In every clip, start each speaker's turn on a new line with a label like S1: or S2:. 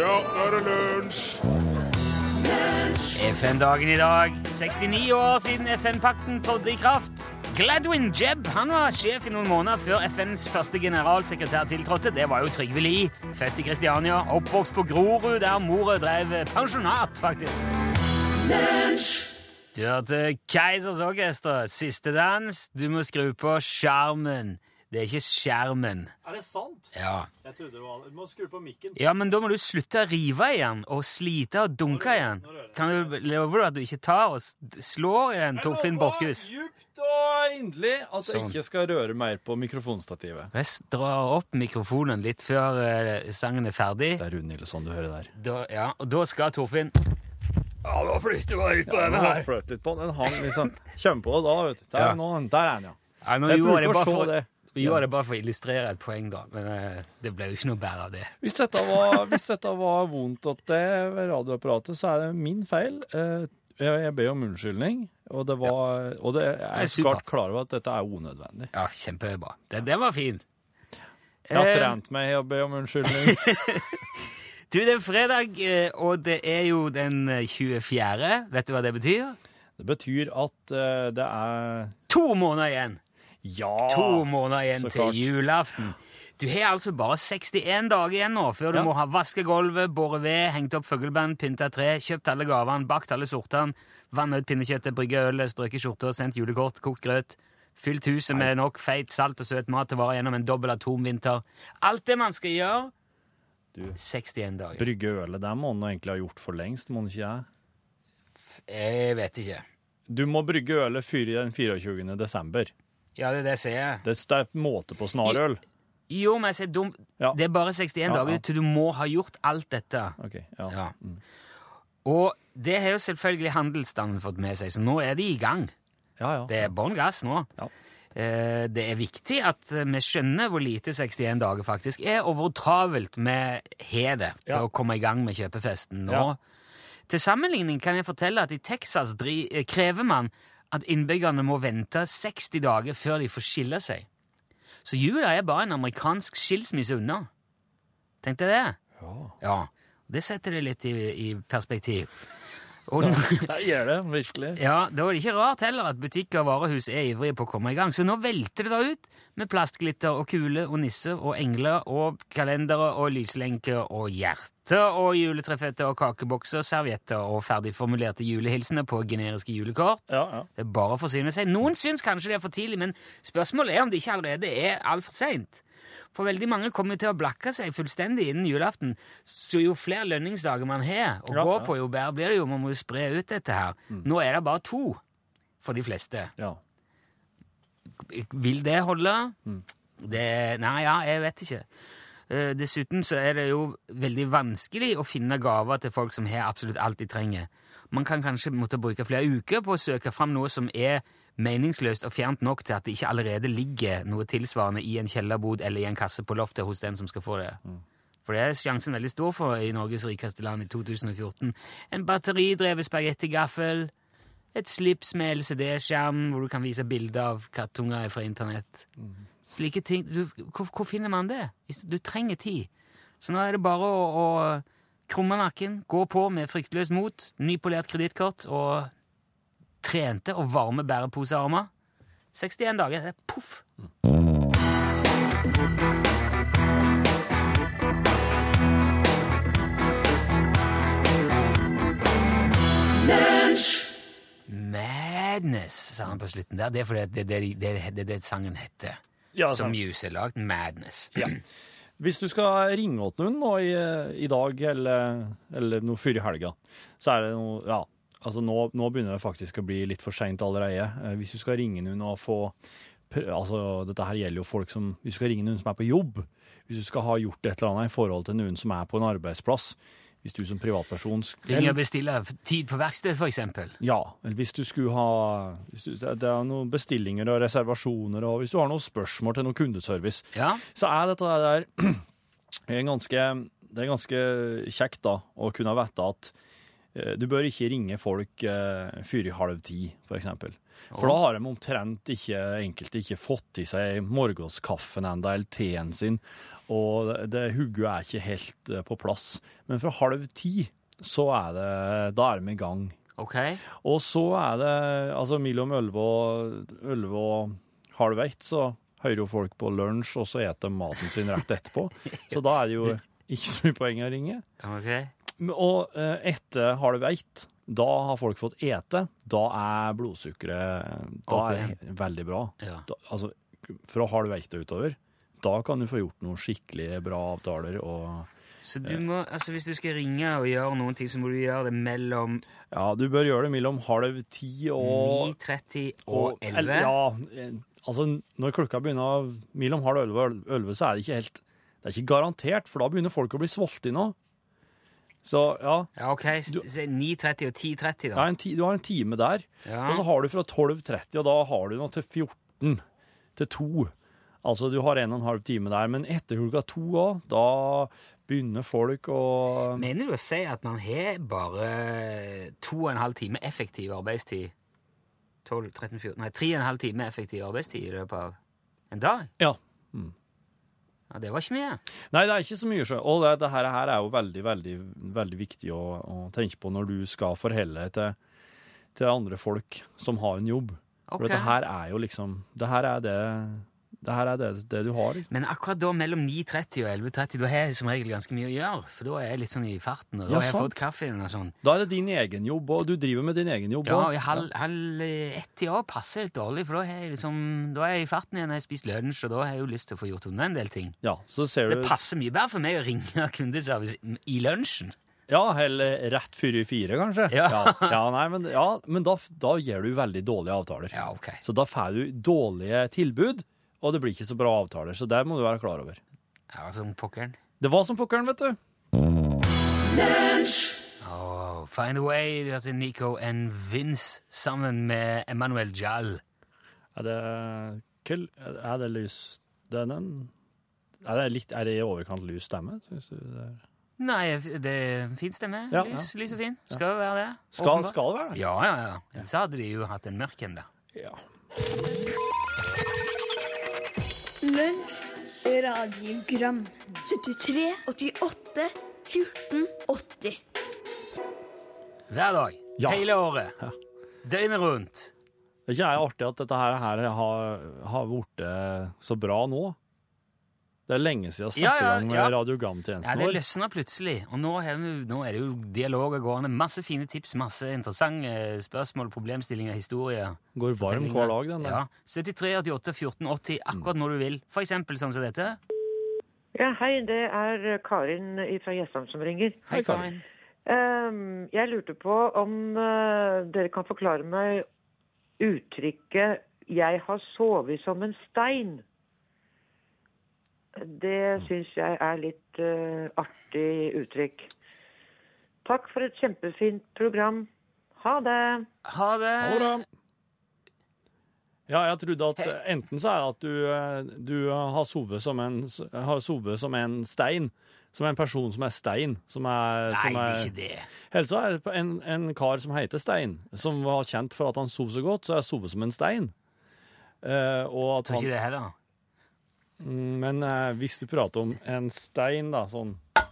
S1: Ja, nå er det lunsj!
S2: FN-dagen i dag. 69 år siden FN-pakten trådte i kraft. Gladwin Jebb han var sjef i noen måneder før FNs første generalsekretær tiltrådte. Det var jo Trygve Lie, født i Kristiania, oppvokst på Grorud, der mora drev pensjonat, faktisk. Du hørte Keisers Orkester, siste dans. Du må skru på skjermen. Det er ikke skjermen.
S3: Er det sant?
S2: Ja.
S3: Jeg trodde det var Du må skru på mikken.
S2: Ja, men da må du slutte å rive igjen og slite og dunke igjen. Kan du love at du ikke tar og s- slår i den, Torfinn Borchhus?
S3: Djupt og inderlig at
S2: Sånn.
S3: jeg ikke skal røre mer på mikrofonstativet.
S2: Hvis jeg drar opp mikrofonen litt før eh, sangen er ferdig,
S3: Det er Rune Nilsson du hører der.
S2: da, ja, og da skal Torfinn
S4: Ja, nå flytter vi ut på
S3: Den
S4: denne
S3: har
S4: her.
S3: fløt litt på den. Den hang liksom Kjem på det da, vet du. Der,
S2: Ja.
S3: nå, der er den, ja.
S2: ja, nå
S3: Jeg
S2: gjorde
S3: bruker å
S2: bare
S3: se
S2: for,
S3: det.
S2: Vi gjorde det bare for å illustrere et poeng, da. Men eh, det ble jo ikke noe bedre av det.
S3: Hvis dette var, hvis dette var vondt at det ved radioapparatet, så er det min feil. Eh, Jeg, jeg ber om unnskyldning, og det var Og det, jeg
S2: er
S3: er klart
S2: supert.
S3: klar over at dette er unødvendig.
S2: Ja, kjempebra. Det, det var fint.
S3: Jeg har
S2: Eh,
S3: trent meg i å be om unnskyldning.
S2: Du, det er fredag, eh, og det er jo den eh, 24. Vet du hva det betyr?
S3: Det betyr at eh, det er
S2: To måneder igjen!
S3: Ja!
S2: To måneder igjen
S3: så
S2: til
S3: klart.
S2: julaften. Du har altså bare 61 dager igjen nå før du
S3: Ja.
S2: må ha vasket gulvet, båret ved, hengt opp fugleband, pynta tre, kjøpt alle gavene, bakt alle sortene, vannet ut pinnekjøttet, brygga ølet, strøket skjorta, sendt julekort, kokt grøt, fylt huset med nok feit, salt og søt mat til å vare gjennom en dobbel atomvinter. Alt det man skal gjøre
S3: Du.
S2: 61 dager.
S3: Brygge ølet, det må man egentlig ha gjort for lengst, må man ikke det?
S2: Jeg vet ikke.
S3: Du må brygge ølet før i den 24. desember.
S2: Ja, det er det jeg sier.
S3: Det er det er måte på snarøl.
S2: Jo, men jeg sier dumt.
S3: Ja.
S2: Det er bare 61
S3: Ja, ja.
S2: dager til du må ha gjort alt dette.
S3: Ok, ja.
S2: Ja. Og det har jo selvfølgelig handelsstanden fått med seg, så nå er de i gang.
S3: Ja, ja.
S2: Det er bånn gass nå.
S3: Ja.
S2: Eh, Det er viktig at vi skjønner hvor lite 61 dager faktisk er, og hvor travelt vi har det til
S3: Ja.
S2: å komme i gang med kjøpefesten nå.
S3: Ja.
S2: Til sammenligning kan jeg fortelle at i Texas dri eh, krever man at innbyggerne må vente 60 dager før de får skille seg. Så jula er bare en amerikansk skilsmisse unna. Tenkte jeg det? Ja. Det setter det litt i, i perspektiv. Og nå,
S3: Det gjør det, virkelig.
S2: ja, Da er det ikke rart heller at butikker og varehus er ivrige på å komme i gang, så nå velter det da ut med plastglitter og kuler og nisser og engler og kalendere og lyslenker og hjerter og juletrefetter og kakebokser, servietter og ferdigformulerte julehilsener på generiske julekort.
S3: Ja, ja.
S2: Det er bare å forsyne seg. Noen syns kanskje det er for tidlig, men spørsmålet er om det ikke allerede er altfor seint. For veldig mange kommer jo til å blakke seg fullstendig innen julaften, så jo flere lønningsdager man har å
S3: Ja,
S2: gå
S3: ja.
S2: på, jo bedre blir det jo. Man må jo spre ut dette her. Nå er det bare to for de fleste.
S3: ja.
S2: Vil det holde? Det Nei, ja, jeg vet ikke. Eh, Dessuten så er det jo veldig vanskelig å finne gaver til folk som har absolutt alt de trenger. Man kan kanskje måtte bruke flere uker på å søke fram noe som er meningsløst og fjernt nok til at det ikke allerede ligger noe tilsvarende i en kjellerbod eller i en kasse på loftet hos den som skal få det. For det er sjansen veldig stor for i Norges rikeste land i 2014. En batteridrevet spagettigaffel, et slips med LCD-skjerm hvor du kan vise bilder av kattunger fra internett. Slike ting du, hvor, hvor finner man det? Hvis- Du trenger tid. Så nå er det bare å, å krumme nakken, gå på med fryktløst mot, nypolert kredittkort og trente og varme bæreposearmer. 61 dager, det er poff! Madness, sa han på slutten der. Det er fordi at det er det, det, er det, det sangen heter.
S3: Ja,
S2: som
S3: sant.
S2: Muse er lagd. Madness.
S3: Hvis du skal ringe åt noen nå i, i dag, eller, eller noe før i helga, så er det noe Ja, altså nå, nå begynner det faktisk å bli litt for seint allerede. Eh, Hvis du skal ringe noen og få pr- Altså, dette her gjelder jo folk som Hvis du skal ringe noen som er på jobb, hvis du skal ha gjort et eller annet i forhold til noen som er på en arbeidsplass, hvis du som privatperson sk-
S2: Ring og bestille tid på verksted, for eksempel.
S3: Ja, eller hvis du skulle ha hvis du, Det det er noen bestillinger og reservasjoner, og hvis du har noen spørsmål til noen kundeservice,
S2: Ja.
S3: så er dette der en ganske, Det er ganske kjekt da, å kunne vite at eh, du bør ikke ringe folk eh, før i halv ti, for eksempel. For da har de omtrent ikke, enkelte ikke fått i seg morgenskaffen enda, eller teen sin, og det, det hugget er ikke helt eh, på plass. Men fra halv ti, så er det, da er de i gang.
S2: OK.
S3: Og så er det, altså mellom 11 og, 11 og halv ett, så hører jo folk på lunsj, og så eter de maten sin rett etterpå. Så da er det jo ikke så mye poeng å ringe.
S2: ok.
S3: Men- Og eh, etter halv ett, da har folk fått ete. Da er blodsukkeret Da er det he- veldig bra.
S2: Ja.
S3: Da, altså, fra halv ett og utover, da kan du få gjort noen skikkelig bra avtaler og
S2: Så du må, altså hvis du skal ringe og gjøre noen ting, så må du gjøre det mellom
S3: Ja, du bør gjøre det mellom halv ti og
S2: 9.30 og 11.
S3: Ja, eh, altså når klokka begynner mellom halv elleve og elv- elleve, så er det ikke helt Det er ikke garantert, for da begynner folk å bli sultne. Så ja,
S2: Ja, OK. s-
S3: Du-
S2: s- 9.30 og 10.30,
S3: det
S2: da.
S3: er en ti, du har en time der.
S2: Ja.
S3: Og så har du fra 12.30, og da har du noe til 14. Til 2. Altså du har en og en halv time der. Men etter klokka to òg, da begynner folk å
S2: Mener du å si at man har bare to og en halv time effektiv arbeidstid? 12, 13, 14, nei, tre og en halv time effektiv arbeidstid i løpet av en dag?
S3: Ja.
S2: Ja, Det var ikke mye.
S3: Nei, det er ikke så mye sjø. Og det, det her, her er jo veldig, veldig, veldig viktig å, å tenke på når du skal forholde deg til, til andre folk som har en jobb. For
S2: Ok.
S3: dette her er jo liksom Det her er det, det, her er det, det du har, liksom.
S2: Men akkurat da mellom 9.30 og 11.30 da har jeg som regel ganske mye å gjøre. For da er jeg litt sånn i farten, og da
S3: Ja,
S2: har jeg
S3: sant.
S2: fått kaffen og sånn.
S3: Da er det din egen jobb, og du driver med din egen jobb.
S2: Ja,
S3: også.
S2: og i halv, halv eh, ett i år passer litt dårlig, for da er jeg, liksom, da er jeg i farten igjen, jeg har spist lunsj, og da har jeg jo lyst til å få gjort unna en del ting.
S3: ja, så ser
S2: Det
S3: du
S2: passer mye bedre for meg å ringe kundeservice i lunsjen.
S3: Ja, eller rett før i fire, kanskje.
S2: Ja.
S3: ja, Ja, nei, men, ja, men da, da gjør du veldig dårlige avtaler.
S2: Ja, ok.
S3: Så da får du dårlige tilbud, og det blir ikke så bra avtaler. Så det må du være klar over.
S2: Ja, som pokkeren.
S3: Det var som pokkeren, vet du.
S2: Åh, Find a Way, du hørte Nico and Vince sammen med Emmanuel Jal.
S3: Er det kull? Er det lys? Det er den? Er det, litt, er det i overkant lys stemme? Synes du det er?
S2: Nei, det er fin stemme.
S3: Ja,
S2: lys, lys og fin. Skal jo være det.
S3: Skal,
S2: åpenbart.
S3: skal det være det?
S2: Ja, ja, ja. Ellers hadde de jo hatt en mørk en, da.
S3: Ja.
S5: Lunsj, radiogram 73, 88, 14, 80
S2: Hver dag.
S3: Ja.
S2: Hele året. Døgnet rundt.
S3: Det er ikke er artig at dette her, her har, har vært så bra nå. Det er lenge siden jeg
S2: Ja,
S3: satte i
S2: ja,
S3: gang med
S2: ja. Ja,
S3: radiogamtjenesten
S2: det
S3: vår.
S2: løsner plutselig, og nå, har vi, nå er det jo dialoger gående. Masse fine tips, masse interessante eh, spørsmål, problemstillinger, historier.
S3: Går varm hver dag, den der. Mm.
S2: Ja. 73, 88, 14, 80, akkurat når du vil. For eksempel sånn som dette.
S6: Ja, hei, det er Karin fra Gjesdam som ringer.
S3: Hei, Karin.
S6: Ehm, Jeg lurte på om eh, dere kan forklare meg uttrykket 'jeg har sovet som en stein'. Det syns jeg er litt eh, artig uttrykk. Takk for et kjempefint program. Ha det.
S2: Ha det!
S3: Ha det bra. Ja, jeg trodde at eh, enten så er det at du, eh, du har sovet som en, s- har sovet som en stein, som en person som er stein, som er...
S2: Nei,
S3: som
S2: det
S3: er,
S2: er ikke det.
S3: Helst så er det en, en kar som heter Stein, som var kjent for at han sov så godt, så jeg sovet som en stein. Eh, og at
S2: Tror
S3: han,
S2: ikke det heller.
S3: men eh, hvis du prater om en stein da, sånn,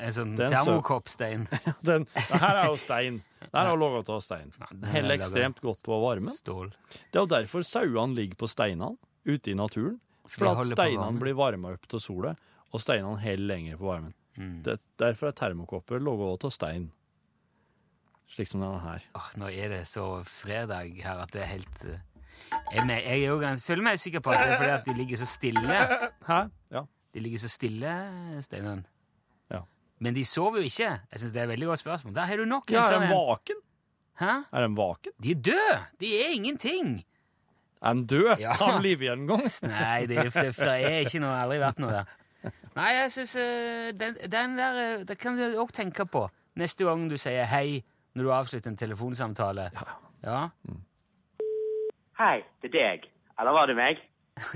S2: En sånn
S3: Den så-
S2: termokoppstein.
S3: den, det her er jo stein, det her er jo laget av stein.
S2: den er
S3: Heller
S2: laget av-
S3: ekstremt godt på varmen.
S2: Stål.
S3: Det er jo derfor sauene ligger på steinene ute i naturen. For
S2: de
S3: at
S2: holder på varmen.
S3: steinene blir varma opp til sola, og steinene holder lenger på varmen.
S2: Mm.
S3: Det, derfor er termokopper laget av stein. Slik som denne her.
S2: Åh, nå er det så fredag her at det er helt eh, Jeg, me- jeg, er jo gans- føler meg sikker på at det er fordi at de ligger så stille.
S3: Hæ? Ja.
S2: De ligger så stille, Steinan.
S3: Ja.
S2: Men de sover jo ikke. Jeg synes det er et veldig godt spørsmål. Der har du nok en
S3: ja er
S2: sånn
S3: den
S2: en.
S3: vaken?
S2: Hæ?
S3: Er den vaken?
S2: De er døde! De er ingenting!
S3: Er den død?
S2: Ja.
S3: Har den livet igjen en gang?
S2: Nei, det, det, det er ikke noe, aldri vært noe der. Nei, jeg synes eh, den, den der eh, Det kan du også tenke på neste gang du sier hei når du avslutter en telefonsamtale. Ja.
S7: Hei, det er deg. Eller var det meg?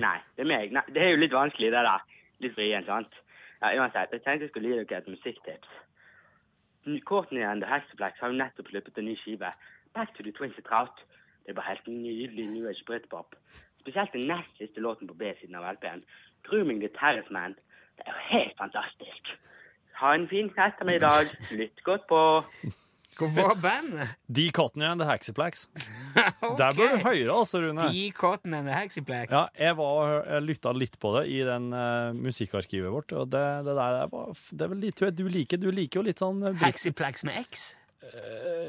S7: Nei, det er meg. Nei, det er jo litt vanskelig, det der. Litt vrient, sant? Ja, uansett, jeg tenkte jeg skulle gi dere et musikktips. Courtney and The Hexaplex har jo nettopp sluppet en ny skive. Back to the Twins and Trout. Det er bare helt nydelig new age britpop. Spesielt den nest siste låten på B-siden av LP-en. 'Grooming the Terrace Man'. Det er jo helt fantastisk. Ha en fin ettermiddag. Lytt godt på.
S2: Hvor var bandet?
S3: De kattene and the Haxiplex. Der bør du høre, altså, Rune.
S2: De Cotton and the Haxiplex.
S3: Ja, jeg, var, og hør- jeg lytta litt på det i den eh, musikkarkivet vårt, og det, det der er, bare- det er vel litt, tror jeg, du liker. Du liker jo litt sånn eh, brit-
S2: Haxiplex med X?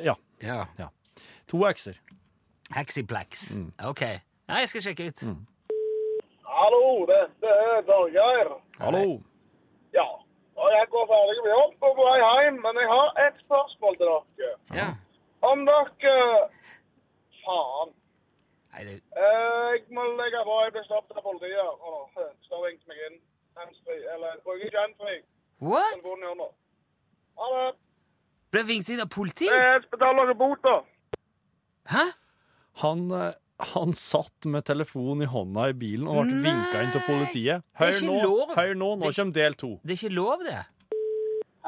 S3: Ja.
S2: Ja.
S3: To x-er.
S2: Haxiplex.
S3: Mm.
S2: Ok. Nei, jeg skal sjekke ut.
S8: Hallo, dette er Torgeir.
S3: Hallo!
S8: Ja, og jeg går ferdig med jobb og på vei hjem, men jeg har et spørsmål til dere.
S2: Ja.
S8: Om dere... Faen.
S2: Nei, det,
S8: Eh, Jeg må legge på, jeg blir stoppet av politiet. Å, skal ringt meg inn. Handsfree, eller jeg bruker ikke handsfree.
S2: what?
S8: Telefonen gjør nå. Ha det.
S2: Ble vinket inn av politi?
S8: Jeg betaler ikke bot da.
S2: Hæ?
S3: Han, eh, han satt med telefonen i hånda i bilen og ble
S2: Nei.
S3: vinka inn til politiet.
S2: Det er
S3: Hør
S2: ikke
S3: nå,
S2: lov.
S3: hør nå, nå
S2: Det er ikke-
S3: kommer del to.
S2: Det er ikke lov, det.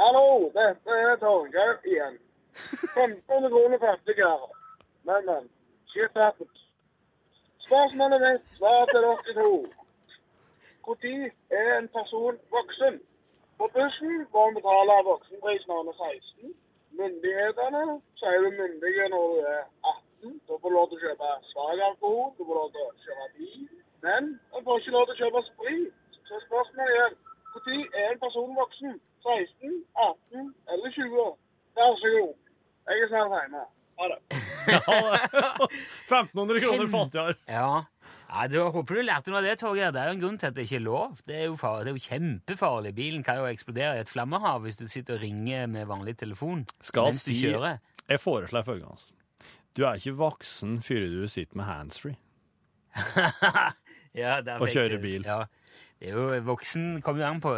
S8: Hallo, dette er Torgeir igjen. 15 kroner fattigere. Men, men, shit happens. Spørsmålet mitt var til dere to. Når er en person voksen? På bussen må en betale voksenpris når en er 16. Myndighetene sier du myndige når du er 18. Da får du lov til å kjøpe svak alkohol, du får lov til å kjøre bil. Men en får ikke lov til å kjøpe sprit. Så spørsmålet er, når er en person voksen? 16, 18 eller 20? Vær så god. Jeg er snart hjemme. Ha det.
S3: 1500 kroner fattigere.
S2: Ja. ja du, jeg håper du lærte noe av det, Torgeir. Det er jo en grunn til at det ikke er lov. Det er jo, far, det er jo kjempefarlig. Bilen kan jo eksplodere i et flammehav hvis du sitter og ringer med vanlig telefon
S3: Skal
S2: mens du
S3: si-
S2: kjører.
S3: Jeg foreslår følgende. altså. Du er ikke voksen før du sitter med handsfree.
S2: Ja, der
S3: Og
S2: fikk
S3: kjører
S2: du-
S3: bil.
S2: Ja. Det er jo, voksen kommer jo an på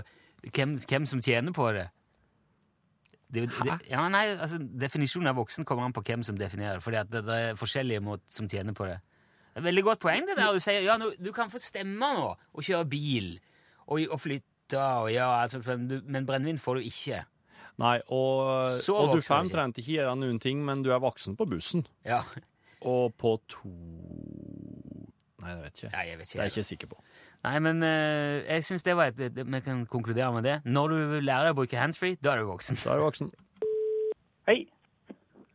S2: hvem, hvem som tjener på det. det, det ja, nei, altså, definisjonen av voksen kommer an på hvem som definerer det. Fordi at det, det er forskjellige måter som tjener på det. Det er et veldig godt poeng det der du sier ja, nå- du kan få stemme nå og kjøre bil og, og flytte og ja, altså, men, du, men brennevin får du ikke.
S3: Nei, og,
S2: Så
S3: og du får
S2: voksen er du ikke.
S3: omtrent ikke gjøre noen ting, men du er voksen på bussen.
S2: Ja,
S3: Og på to Nei, det vet jeg ikke.
S2: Nei, jeg vet
S3: Det er jeg
S2: ikke.
S3: ikke sikker på.
S2: Nei, men eh, jeg syns det var et det- Vi kan konkludere med det. Når du lærer deg å bruke handsfree, da er du voksen.
S3: Da er du voksen.
S6: Hei.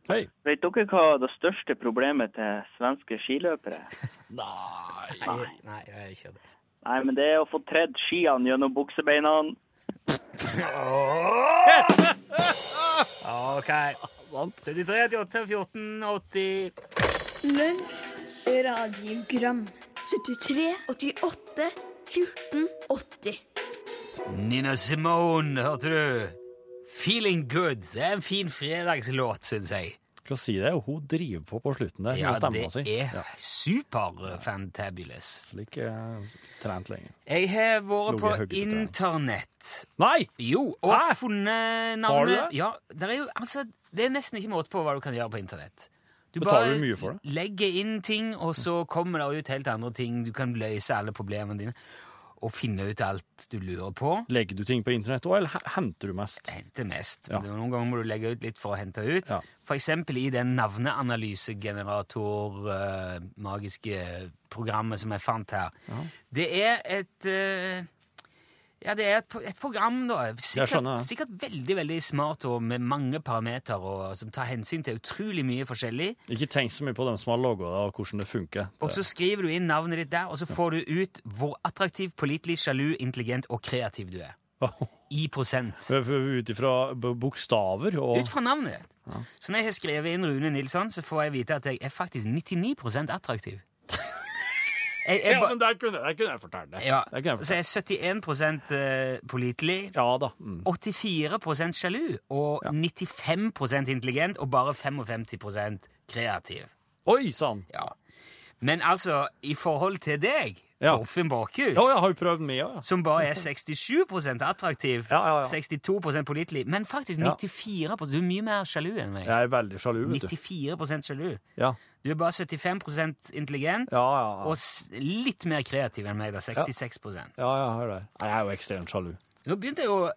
S3: Hei.
S6: Vet dere hva det største problemet til svenske skiløpere er?
S2: Nei, nei, det er ikke det.
S6: Nei, men det er å få tredd skiene gjennom buksebeina.
S2: Ok. 73, 88, 14, 80
S5: Lunsj, radiogram. 73, 88, 14, 80.
S2: Nina Simone, hørte du? Feeling good. Det er en fin fredagslåt, syns jeg.
S3: Skal si det, og hun driver på på slutten der
S2: Ja,
S3: med
S2: det
S3: stemma si.
S2: er
S3: Ja,
S2: superfantabulous.
S3: slik eh, trent lenge.
S2: Jeg har vært
S3: Lå
S2: på
S3: i hodet på deg.
S2: internett.
S3: Nei!
S2: Jo, og
S3: Hæ?
S2: funnet navnet
S3: Har du det?
S2: Ja, det er jo altså, Det er nesten ikke måte på hva du kan gjøre på internett. Du
S3: Betaler du mye for det?
S2: legger inn ting, og så kommer det ut helt andre ting. Du kan løse alle problemene dine og finne ut alt du lurer på.
S3: Legger du ting på internett òg, eller he- henter du mest?
S2: hente mest.
S3: Ja.
S2: Men Noen ganger må du legge ut litt for å hente ut.
S3: Ja.
S2: For eksempel i den navneanalysegenerator-magiske programmet som jeg fant her. Det er et eh, ja, det er et, pro- et program, da. Sikkert,
S3: skjønner, ja.
S2: sikkert veldig veldig smart og med mange parametere og som tar hensyn til utrolig mye forskjellig.
S3: Ikke tenk så mye på dem som har logga det, og hvordan det funker.
S2: Og så
S3: Det-
S2: skriver du inn navnet ditt der, og så får du ut hvor attraktiv, pålitelig, sjalu, intelligent og kreativ du er. I prosent.
S3: Ut ifra b- bokstaver og
S2: Ut fra navnet ditt. Så når jeg har skrevet inn Rune Nilsson, så får jeg vite at jeg er faktisk 99 attraktiv. Jeg, jeg
S3: Ja,
S2: ba-
S3: men der kunne, der kunne jeg fortelle det.
S2: ja,
S3: Der kunne jeg
S2: så
S3: fortelle.
S2: jeg er 71 eh, pålitelig,
S3: Ja da. Mm.
S2: 84 sjalu og 95 intelligent og bare 55 kreativ.
S3: Oi sann!
S2: Ja. Men altså, i forhold til deg,
S3: Ja.
S2: Torfinn Borchhus
S3: Ja, jeg har jo prøvd med òg, ja.
S2: som bare er 67 attraktiv,
S3: Ja, ja, ja.
S2: 62 pålitelig, men faktisk
S3: Ja.
S2: 94 Du er mye mer sjalu enn meg.
S3: Jeg er veldig sjalu, vet du.
S2: 94 sjalu.
S3: Ja,
S2: Du er bare 75 intelligent
S3: ja, ja.
S2: og
S3: ja.
S2: s- litt mer kreativ enn meg. da, 66
S3: Ja, ja, hør der. Nei, Jeg er jo ekstremt sjalu.
S2: Nå begynte jeg jo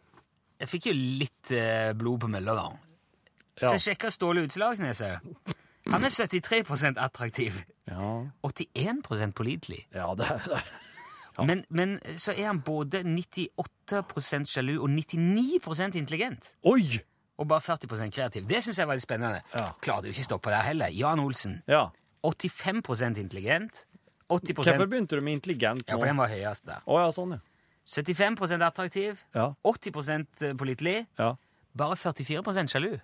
S2: Jeg fikk jo litt eh, blod på mølla, da.
S3: Ja.
S2: Så jeg sjekka Ståle Utslagsnes òg. Han er 73 attraktiv.
S3: Ja.
S2: 81 pålitelig.
S3: Ja, det er
S2: Men, men eh, så er han både 98 sjalu og 99 intelligent.
S3: Oi!
S2: Og bare 40 kreativ. Det syns jeg var litt spennende.
S3: Ja.
S2: Klarer du ikke stoppe der heller. Jan Olsen.
S3: Ja.
S2: 85 intelligent. 80
S3: Hvorfor begynte du med intelligent
S2: Ja,
S3: nå?
S2: for den var høyest der.
S3: Å ja, sånn, ja.
S2: 75 attraktiv.
S3: Ja.
S2: 80 pålitelig.
S3: Ja,
S2: Bare 44 sjalu.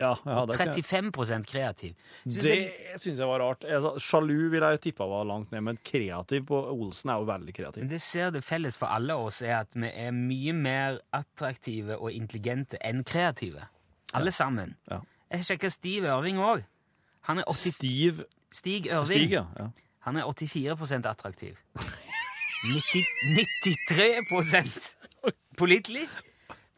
S3: ja, ja det, er ikke-
S2: 35 kreativ. Synes jeg-
S3: det syns jeg var rart. Altså, sjalu ville jeg tippa var langt ned, men kreativ på Olsen er jo veldig
S2: Men
S3: kreativ.
S2: det ser det felles for alle oss er at vi er mye mer attraktive og intelligente enn kreative. Alle sammen.
S3: Ja.
S2: Jeg sjekka Stiv Ørving òg. Han er 80
S3: Stiv
S2: Stig Ørving.
S3: Stig, ja. ja.
S2: Han er 84 attraktiv. 90, 93 pålitelig.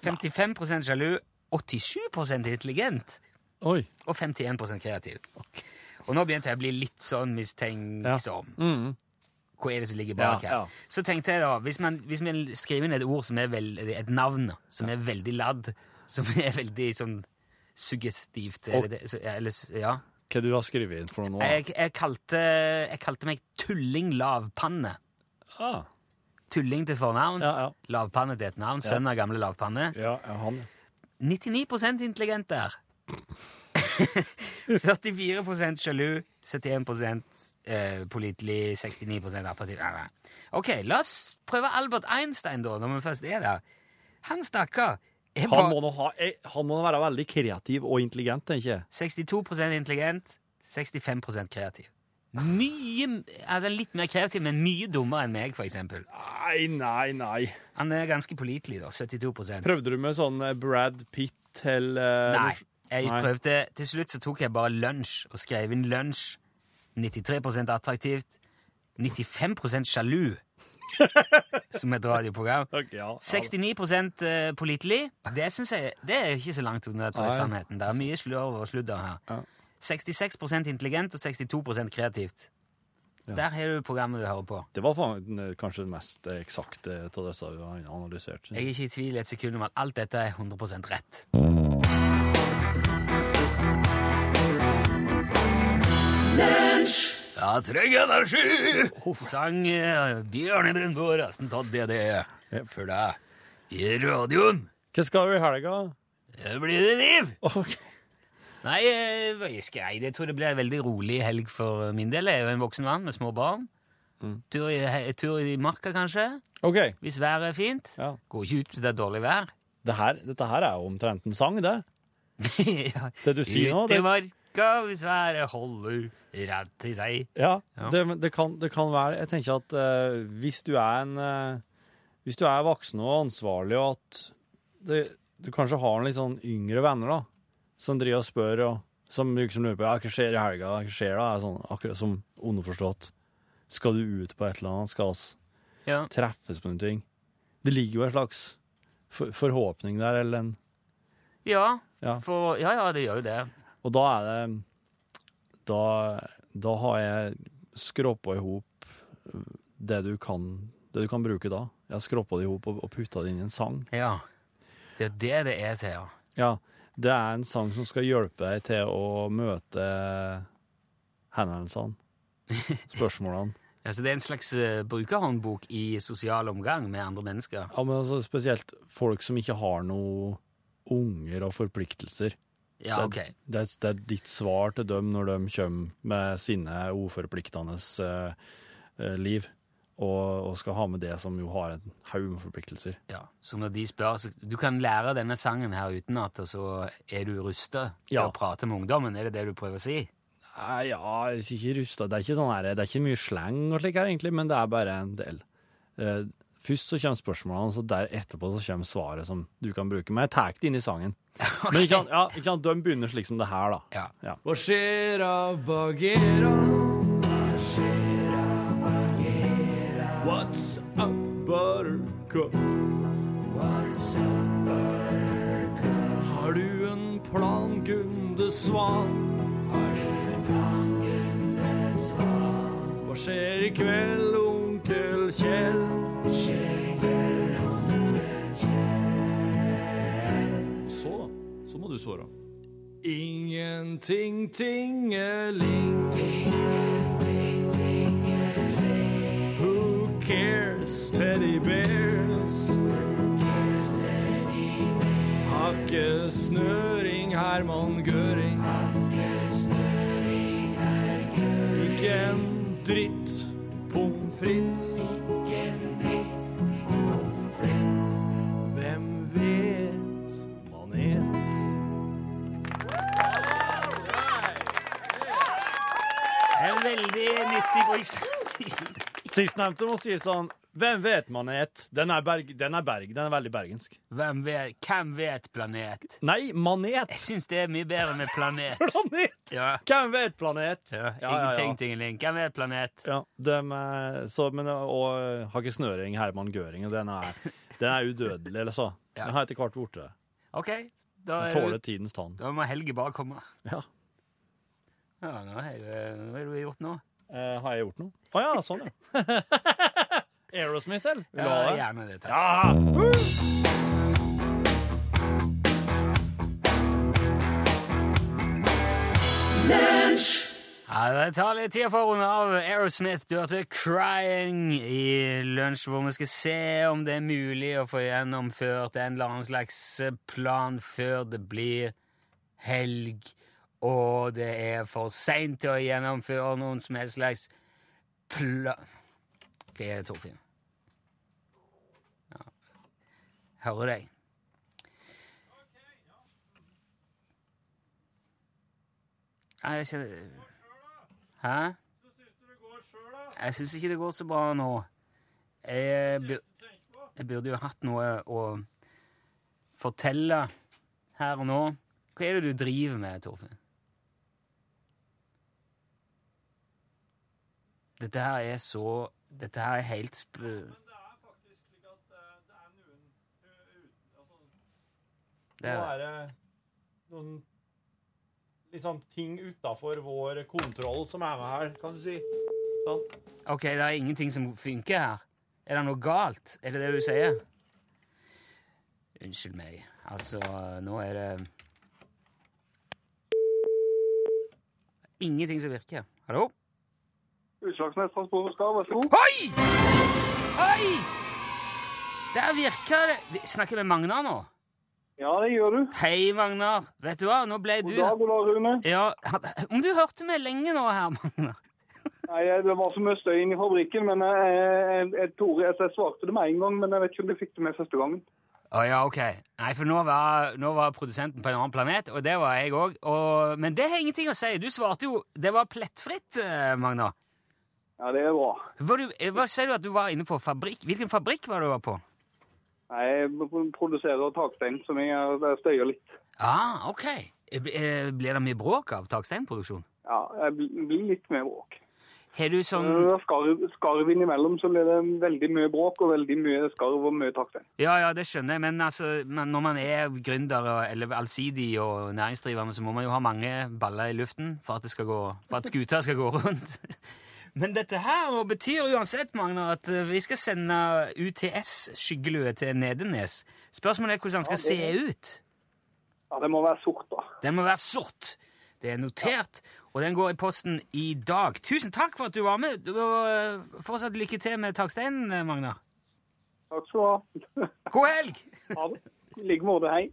S2: 55 sjalu. 87 intelligent.
S3: Oi.
S2: Og 51 kreativ. Og nå begynte jeg å bli litt sånn mistenksom.
S3: Mm.
S2: Hva er det som ligger bak
S3: Ja,
S2: her?
S3: ja.
S2: Så tenkte jeg da, hvis man, hvis man skriver inn et ord som er veld, et navn som er veldig ladd, som er veldig sånn suggestivt
S3: Og-
S2: eller, det- så- eller, s- ja.
S3: Hva du har skrevet inn for noe nå? da?
S2: jeg, jeg, kalte, jeg kalte meg Tulling Lavpanne.
S3: Ah.
S2: Tulling til fornavn,
S3: Ja, ja.
S2: lavpanne til et navn. Sønn av gamle lavpanne.
S3: Ja, ja, han.
S2: 99 intelligent der. 44 sjalu, 71 eh, pålitelig, 69 attraktiv. Nei, nei. Ok, la oss prøve Albert Einstein, da, når vi først er der. Han stakkar er
S3: Han
S2: bare
S3: må nå ha, eh, han må nå være veldig kreativ og intelligent, tenker jeg.
S2: 62 intelligent, 65 kreativ. Mye, altså Litt mer kreativ, men mye dummere enn meg, for eksempel.
S3: Nei, nei, nei.
S2: Han er ganske pålitelig, da. 72
S3: Prøvde du med sånn eh, Brad Pitt til eh,
S2: Nei. Jeg
S3: Nei.
S2: prøvde, Til slutt så tok jeg bare lunsj og skrev inn lunsj. 93 attraktivt. 95 sjalu, som et radioprogram.
S3: Ok, ja, ja.
S2: 69 eh, pålitelig. Det synes jeg, det er ikke så langt unna tror jeg,
S3: Nei.
S2: sannheten. Det er mye slurv og sludder her. 66 intelligent og 62 kreativt. Der har du programmet du hører på.
S3: Det var faen, eh, kanskje det mest eh, eksakte av disse vi har analysert.
S2: Jeg er ikke i tvil et sekund om at alt dette er 100 rett. Ja, trenger energi! Sang eh, Bjørne Brundgaard, resten tatt det det er for deg i radioen.
S3: Hva skal du i helga?
S2: Det blir det liv!
S3: Ok.
S2: Nei, eh, hva skal jeg? Jeg tror det blir en veldig rolig helg for min del. Jeg er jo en voksen mann med små barn. Tur, i, he- tur i marka, kanskje,
S3: Ok.
S2: hvis været er fint.
S3: Ja.
S2: Går ikke ut hvis det er dårlig vær.
S3: Det her, dette her er jo omtrent en sang, det.
S2: ja.
S3: Det du sier nå,
S2: Ut
S3: det,
S2: i marka hvis været holder rett til deg.
S3: ja,
S2: Ja.
S3: det, men det, kan, det kan være Jeg tenker at eh, hvis du er en eh, Hvis du er voksen og ansvarlig, og at det, du kanskje har en litt sånn yngre venner, da, som driver og spør, og som liksom lurer på ja, hva skjer i helga, hva skjer da, er sånn, akkurat som underforstått. Skal du ut på et eller annet? Skal oss
S2: Ja.
S3: treffes på noen ting? Det ligger jo en slags for, forhåpning der, eller en
S2: Ja,
S3: Ja.
S2: for Ja, ja, det gjør jo det.
S3: Og da er det Da, da har jeg skråpa i hop det du kan det du kan bruke da. Jeg har skråpa det i hop og, og putta det inn i en sang.
S2: Ja. Det er det det er til, ja.
S3: Ja, Det er en sang som skal hjelpe deg til å møte henvendelsene. Spørsmålene.
S2: ja. Så det er en slags eh, brukerhåndbok i sosial omgang med andre mennesker.
S3: Ja, men altså Spesielt folk som ikke har noe unger og forpliktelser.
S2: Ja, ok.
S3: det, det, er- det er ditt svar til dem når de kommer med sine uforpliktende eh, eh, liv, og, og skal ha med det som jo har en haug med forpliktelser.
S2: Ja. Så når de spør så Du kan lære denne sangen her utenat, og så er du rusta til
S3: Ja.
S2: å prate med ungdommen? Er det det du prøver å si?
S3: Nei, Eh, ja, jeg er ikke rusta. Det er ikke, sånn her, det er ikke mye sleng og slik her, egentlig, men det er bare en del. Eh, først så kommer spørsmålene, så der etterpå så kommer svaret som du kan bruke. Men jeg tar det inn i sangen. Men ikke sant, ja, ikke sant, de begynner slik som det her, da.
S2: Ja.
S3: Ja.
S9: Hva skjer av Bagheera? Hva skjer av Bagheera? What's up, buttercup? What's up, buttercup? Har du en plan, Gunde Svan? Har du en plan, Gunde Svan? Hva skjer i kveld, onkel Kjell? Skjer i kveld, onkel Kjell? Så, da. Så må du svare.
S10: Ingenting tingeling. Who cares, teddy bears? Hakke snøring, Herman Gøring. Ikke en dritt pommes frites. Hvem vet manet?
S2: En veldig nyttig bruk.
S3: Sistnevnte må si sånn Hvem vet manet? Den er, berg, den er berg, den er veldig bergensk.
S2: Hvem vet, hvem vet planet?
S3: Nei, manet!
S2: Jeg syns det er mye bedre med planet.
S3: Planet!
S2: Ja.
S3: Hvem vet planet? ja,
S2: Ja,
S3: ja.
S2: ingenting, tingeling. Hvem vet planet?
S3: Ja, dem er, så, men, eh, og Hakke Snøring, Herman Gøring, den er, den er udødelig, eller så. Den har etter hvert blitt det.
S2: OK, da,
S3: Den
S2: er
S3: tåler
S2: du,
S3: tidens tann.
S2: da må Helge bare komme.
S3: Ja.
S2: Ja, nå har jeg- hva har du gjort nå?
S3: Eh, har jeg gjort noe? Å ja, sånn, ja. Aerosmith, eller? Vil du ha
S2: Ja,
S3: det?
S2: gjerne det. Takk.
S3: Ja!
S2: Ja, det tar litt tid for å runde av. Aerosmith, du hørte 'Crying' i lunsj, hvor vi skal se om det er mulig å få gjennomført en eller annen slags plan før det blir helg, og det er for seint til å gjennomføre noen som helst slags plan... Hva er det, Torfinn? Ja. Hører deg. Nei, jeg kjenner... Hæ? Jeg syns ikke det går så bra nå. Jeg, bu- jeg burde jo hatt noe å fortelle her og nå. Hva er det du driver med, Torfinn? Dette her er så Dette her er helt sp... Det
S3: Nå er
S2: er,
S3: det noen liksom, ting utafor vår kontroll som er med her, kan du si. Sånn.
S2: OK, det er ingenting som funker her. Er det noe galt? Er det det du sier? Unnskyld meg. Altså, nå er det Ingenting som virker. Hallo?
S8: Utslagsnes Transport og Skar, vær så god.
S2: Oi! Oi! Der virker det Vi Snakker med Magnar nå?
S8: Ja, det gjør du.
S2: Hei, Magnar. Vet du hva, nå ble du
S8: God dag, god dag, Rune.
S2: Ja, Om du hørte meg lenge nå her, Magnar?
S8: Nei, det var så mye støy inne i fabrikken, men jeg, jeg, jeg, Tore, jeg, jeg svarte det med en gang, men jeg vet ikke om du fikk det med første gangen.
S2: Å ja, ok. Nei, for nå var, nå var produsenten på en annen planet, og det var jeg òg. Og, men det har ingenting å si. Du svarte jo Det var plettfritt, eh, Magnar.
S8: Ja, det er bra.
S2: Var du, eh, hva sier du at du var inne på fabrikk? Hvilken fabrikk var det du var på?
S8: Nei, Jeg p- produserer takstein, som jeg, jeg støyer litt.
S2: Ah, ok. Eh, bl- eh, Blir det mye bråk av taksteinproduksjon?
S8: Ja, jeg bl- blir litt mer bråk.
S2: Har du sånn
S8: Når det er skarv, skarv innimellom, så blir det veldig mye bråk og veldig mye skarv og mye takstein.
S2: Ja, ja, det skjønner jeg, men altså, men når man er gründer og- eller allsidig og næringsdrivende, så må man jo ha mange baller i luften for at, det skal gå, for at skuta skal gå rundt. Men dette her nå betyr uansett, Magnar, at eh, vi skal sende UTS-skyggelue til Nedenes. Spørsmålet er hvordan den skal se ut.
S8: Ja, det må være sort, da.
S2: Den må være sort. Det er notert, og den går i posten i dag. Tusen takk for at du var med, og eh, fortsatt lykke til med taksteinen, eh, Magnar.
S8: Takk skal du ha.
S2: God helg!
S8: Ha det. I like måte, hei.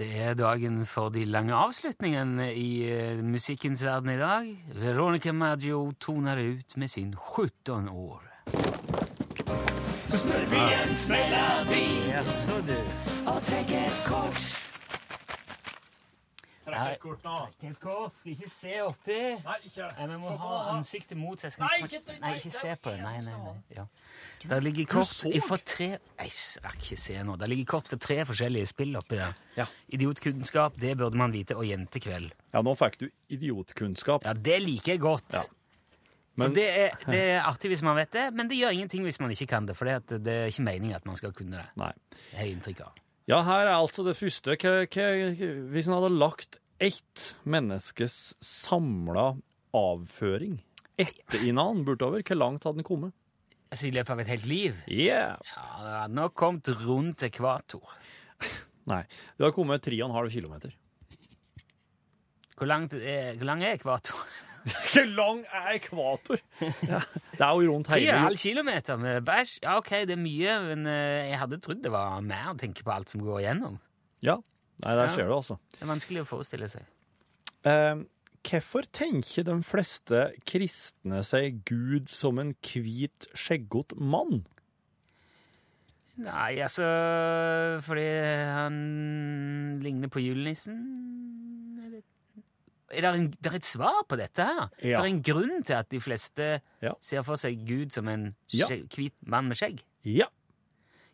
S2: Det er dagen for de lange avslutningene i eh, musikkens verden i dag. Veronica Maggio toner ut med sin 17 år. Jaså, du.
S3: Trekk et kort nå.
S2: Helt kort, skal ikke se oppi.
S3: Nei, ikke
S2: Nei, vi må
S3: Se på
S2: ha
S3: den, da.
S2: ansiktet mot seg. Skal
S3: Nei,
S2: snakke-
S3: ikke det-
S2: nei,
S3: nei,
S2: ikke
S3: det er
S2: se på det.
S3: jeg
S2: Nei,
S3: som
S2: nei,
S3: skal ha
S2: nei. Ja. Der ligger kort
S3: så.
S2: fra tre Nei, jeg ikke se nå. Der ligger kort for tre forskjellige spill oppi der.
S3: Ja.
S2: Idiotkunnskap, det burde man vite, og Jentekveld.
S3: Ja, nå fikk du idiotkunnskap.
S2: Ja, det liker jeg godt.
S3: Men-
S2: for det, er, det er artig hvis man vet det, men det gjør ingenting hvis man ikke kan det. For det, at det er ikke meningen at man skal kunne det.
S3: Nei.
S2: Det har jeg inntrykk av.
S3: Ja, her er altså det første. Hva- hva- hvis en hadde lagt ett menneskes samla avføring
S11: etter Inan bortover. Hvor langt hadde den kommet?
S2: Altså i løpet av et helt liv?
S11: Yeah.
S2: Ja, det hadde nok kommet rundt ekvator.
S11: Nei, det har kommet 3,5 km.
S2: Hvor, langt er, hvor lang er ekvator?
S11: Hvor lang er ekvator? Ja, det er jo rundt
S2: 3,5
S11: hele
S2: kilometer med bæsj? Ja, ok, det er mye, men eh, jeg hadde trodd det var mer å tenke på alt som går igjennom.
S11: Ja. Nei, der
S2: Ja.
S11: ser du, altså.
S2: Det er vanskelig å forestille seg.
S11: Eh, hvorfor tenker de fleste kristne seg Gud som en hvit, skjeggete mann?
S2: Nei, altså Fordi han ligner på julenissen? Jeg vet ikke. Er det, en, det er et svar på dette her. Det
S11: Ja.
S2: er en grunn til at de fleste
S11: Ja.
S2: ser for seg Gud som en
S11: Ja.
S2: skje- hvit mann med skjegg.
S11: Ja.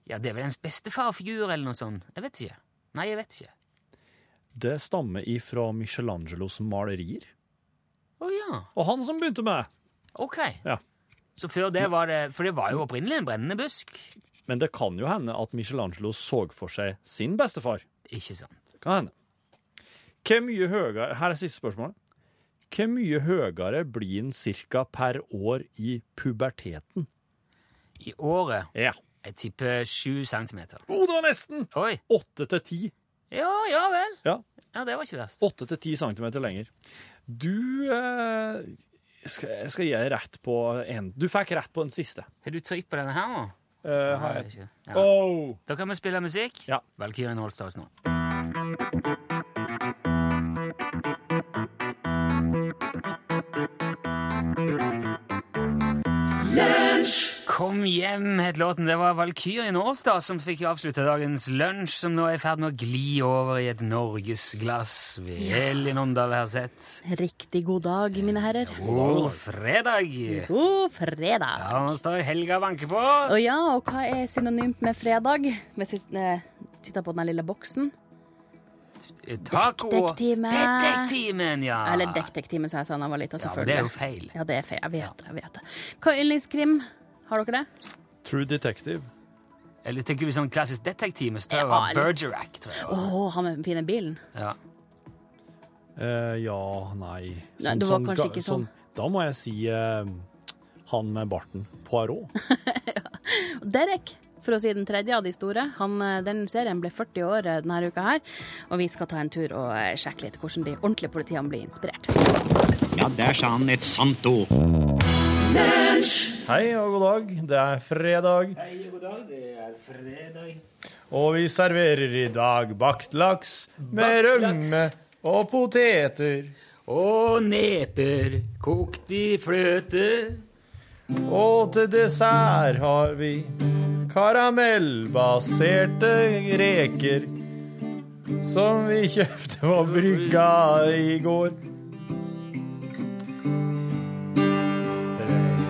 S2: Ja, det er vel ens bestefarfigur eller noe sånt. Jeg vet ikke. Nei, jeg vet ikke.
S11: Det stammer ifra Michelangelos malerier.
S2: Å ja.
S11: Og han som begynte med det.
S2: Ok.
S11: Ja.
S2: Så før det var det For det var jo opprinnelig en brennende busk.
S11: Men det kan jo hende at Michelangelo så for seg sin bestefar.
S2: Ikke sånn. sant.
S11: Det kan hende. Hvor mye høyere, her er siste spørsmålet. Hvor mye høyere blir en cirka per år i puberteten?
S2: I året
S11: Ja.
S2: jeg tipper sju centimeter.
S11: Oh, det var nesten!
S2: Oi.
S11: Åtte til ti.
S2: Ja, ja vel.
S11: Ja.
S2: Ja, det var ikke verst.
S11: Åtte til ti centimeter lenger. Du eh, skal, jeg skal gi deg rett på en. Du fikk rett på den siste.
S2: Har du trykk på denne her nå?
S11: Eh, har
S2: Nei,
S11: jeg.
S2: ikke. Ja.
S11: Oh.
S2: Da kan vi spille musikk.
S11: Ja.
S2: Valkyrien Holstads nå. Kom hjem, het låten. Det var Valkyrien Årstad som fikk avslutta dagens lunsj, som nå er i ferd med å gli over i et norgesglass ved Elin Åndal Herseth.
S12: Riktig god dag, mine herrer.
S2: God fredag!
S12: God fredag.
S2: Ja, nå står Helga og banker på.
S12: Og ja, og hva er synonymt med fredag? Hvis vi eh, titter på den her lille boksen.
S2: Eh, Taco.
S12: Detektimen.
S2: Detektimen, ja.
S12: Eller Detektimen, som jeg sa da jeg var lita,
S2: Ah. Ja, men det
S12: selvfølgelig.
S2: er jo feil.
S12: Ja, det er feil. Jeg vet det. jeg vet det. Hva er yndlingskrim? Har dere det?
S11: True Detective.
S2: Eller tenker vi sånn klassisk detektiv med
S12: Ja,
S2: større
S12: eller-
S2: Bergerac, tror jeg.
S12: Å, han med den fine bilen.
S2: Ja.
S11: Eh, ja, nei
S12: Nei, det var kanskje
S11: ga-
S12: ikke sånn.
S11: Da må jeg si eh, han med barten. Poirot.
S12: Derek, for å si den tredje av de store. Han, eh, den serien ble 40 år eh, denne uka her, og vi skal ta en tur og eh, sjekke litt hvordan de ordentlige politiene blir inspirert.
S13: Ja, der sa han et sant ord.
S3: Hei og god dag. Det er fredag,
S2: Hei, god dag. Det er fredag.
S3: og vi serverer i dag bakt laks med
S2: Bakt
S3: rømme og poteter.
S2: Og neper kokt i fløte.
S3: Og til dessert har vi karamellbaserte reker som vi kjøpte på brygga i går.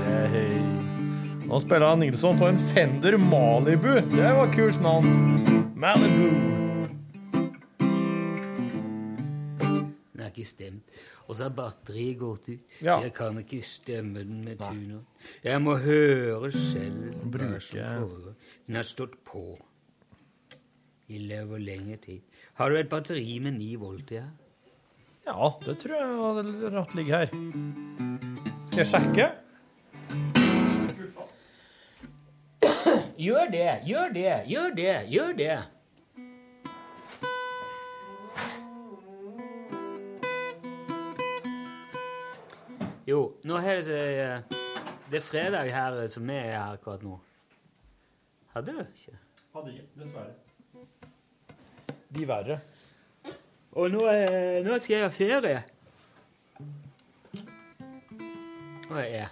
S3: Eh, Nå spiller han Nilsson på en Fender Malibu. Det var kult navn. Malibu.
S2: Den er ikke stemt. Og så har batteriet gått ut,
S3: Ja.
S2: så jeg kan ikke stemme den med tuner. Jeg må høre selv hva som foregår. Den har stått på i løpet av lengre tid. Har du et batteri med 9 volt i her?
S3: Ja, det tror jeg var rart ligger her. Skal jeg sjekke?
S2: Gjør det, gjør det, gjør det, gjør det. Jo, nå er det så, eh, Det er fredag her eh, som er her akkurat nå. Hadde du ikke?
S3: Hadde ikke, dessverre. De verre.
S2: Og nå, eh, nå skal jeg ha ferie. Og jeg er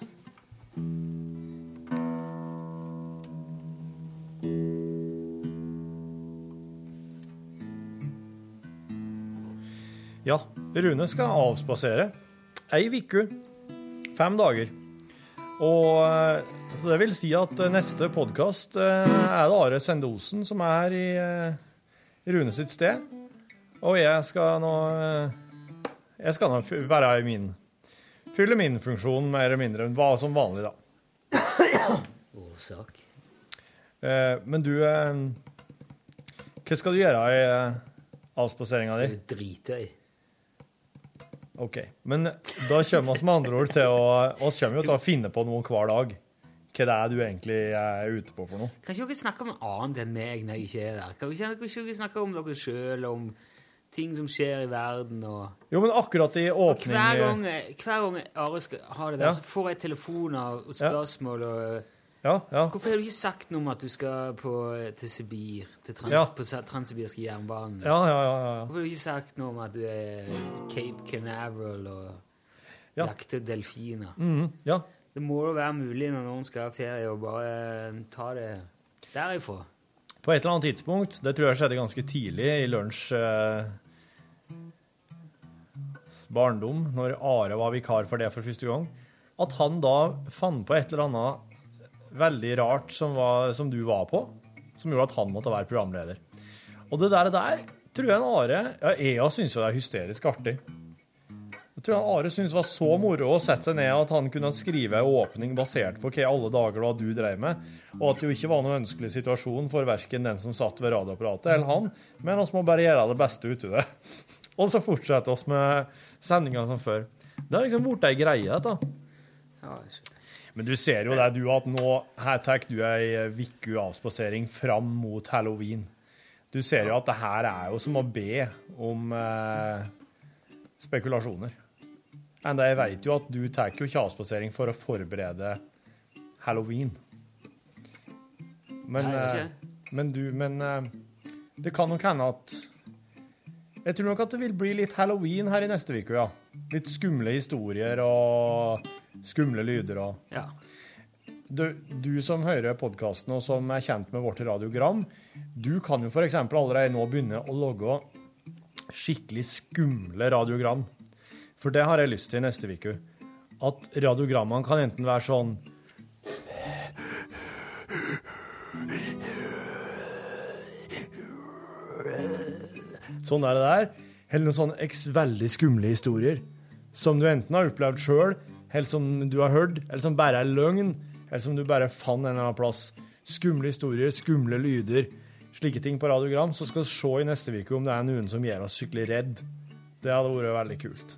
S3: Ja, Rune skal avspasere. Ei uke. Fem dager. Og eh, så det vil si at eh, neste podkast er det Are Sendosen som er i eh, Rune sitt sted. Og jeg skal nå eh, Jeg skal nå f- være i min Fylle min funksjon mer eller mindre enn hva som vanlig, da.
S2: årsak.
S3: Eh, Men du eh, Hva skal du gjøre i eh, avspaseringa di?
S2: Skal du drite i?
S3: OK. Men da kommer vi med andre ord til å oss kommer jo til å finne på noe hver dag. Hva det er du egentlig er ute på for noe.
S2: Kan ikke dere snakke om noe annet enn meg når jeg ikke er der? Kan ikke kan ikke dere snakke om dere sjøl, om ting som skjer i verden, og
S3: Jo, men akkurat i åpning eh,
S2: Hver gang, hver gang Are skal ha det der,
S3: Ja.
S2: så får jeg telefoner og spørsmål og eh,
S3: Ja, ja.
S2: Hvorfor har du ikke sagt noe om at du skal på, eh, til Sibir, til trans,
S3: Ja.
S2: på sa- transsibirske jernbanen?
S3: Ja, ja, ja, ja, ja.
S2: Hvorfor har du ikke sagt noe om at du er Cape Canaveral og
S3: Ja.
S2: jakter delfiner?
S3: Mhm, ja.
S2: Det må jo være mulig når noen skal ha ferie, å bare ta det derifra.
S3: På et eller annet tidspunkt, det tror jeg skjedde ganske tidlig i lunsj eh, barndom, når Are var vikar for det for første gang, at han da fant på et eller annet veldig rart som, var, som du var på, som gjorde at han måtte være programleder. Og det der, der tror jeg en Are ja, Ea syns jo det er hysterisk artig. Jeg tror han Are syntes det var så moro å sette seg ned at han kunne skrive en åpning basert på hva i alle dager det var du drev med, og at det jo ikke var noen ønskelig situasjon for verken den som satt ved radioapparatet eller han, men oss må bare gjøre det beste ut av det. Og så fortsetter oss med sendinga som før. Det har liksom blitt ei greie, dette. Men du ser jo det, du, at nå her tar du ei uke avspasering fram mot halloween. Du ser jo at det her er jo som å be om eh, spekulasjoner. Men jeg vet jo at du tar jo ikke avspasering for å forberede halloween. Men,
S2: Nei, jeg gjør
S3: eh, men du Men eh, det kan nok hende at Jeg tror nok at det vil bli litt halloween her i neste uke, ja. Litt skumle historier og skumle lyder og
S2: Ja.
S3: Du, du som hører podkasten og som er kjent med vårt radiogram, du kan jo f.eks. allerede nå begynne å logge skikkelig skumle radiogram. For det har jeg lyst til neste uke. At radiogrammene kan enten være sånn Sånn er det der. Eller noen sånne eks veldig skumle historier. Som du enten har opplevd sjøl, eller som du har hørt, eller som bare er løgn, eller som du bare fant en eller annen plass. Skumle historier, skumle lyder, slike ting på radiogram. Så skal vi se i neste uke om det er noen som gjør oss skikkelig redd. Det hadde vært veldig kult.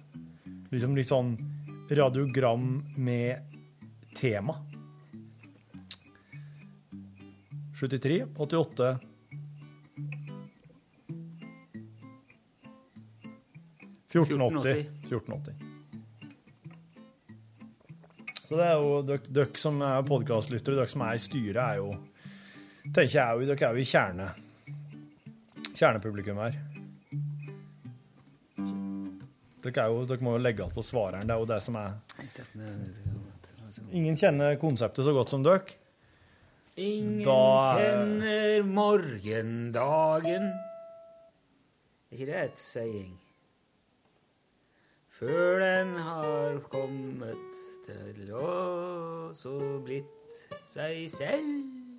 S3: Liksom litt sånn radiogram med tema. 73, 88 1480. 1480. Så det er jo dere, dere som er podkastlyttere, dere som er i styret, er jo tenker jeg, er jo- Dere er jo i kjerne kjernepublikum her. Dere, er jo, dere må jo legge alt på svareren. Det er jo det som er Ingen kjenner konseptet så godt som dere.
S2: Ingen
S3: Da er-
S2: kjenner morgendagen. Er ikke det et saying? Før den har kommet til oss og blitt seg selv.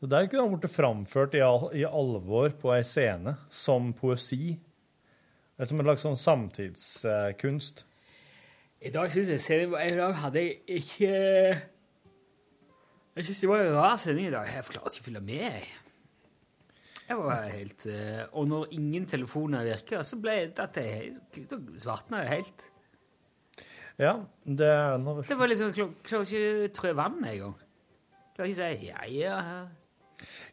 S3: Det der kunne ha blitt framført i, al i alvor på ei scene som poesi. Eller som en slags sånn samtidskunst.
S2: I dag synes jeg serien var- I dag hadde jeg ikke Jeg synes det var en rar sending i dag. Jeg klarte ikke å følge med. jeg. Jeg var helt eh, Og når ingen telefoner virker, så ble jeg datt jeg helt- da svartna det helt.
S3: Ja, det er noe
S2: Det var liksom klar, Klarer ikke å trø vann en gang. Klarer ikke å si ja, ja. ja.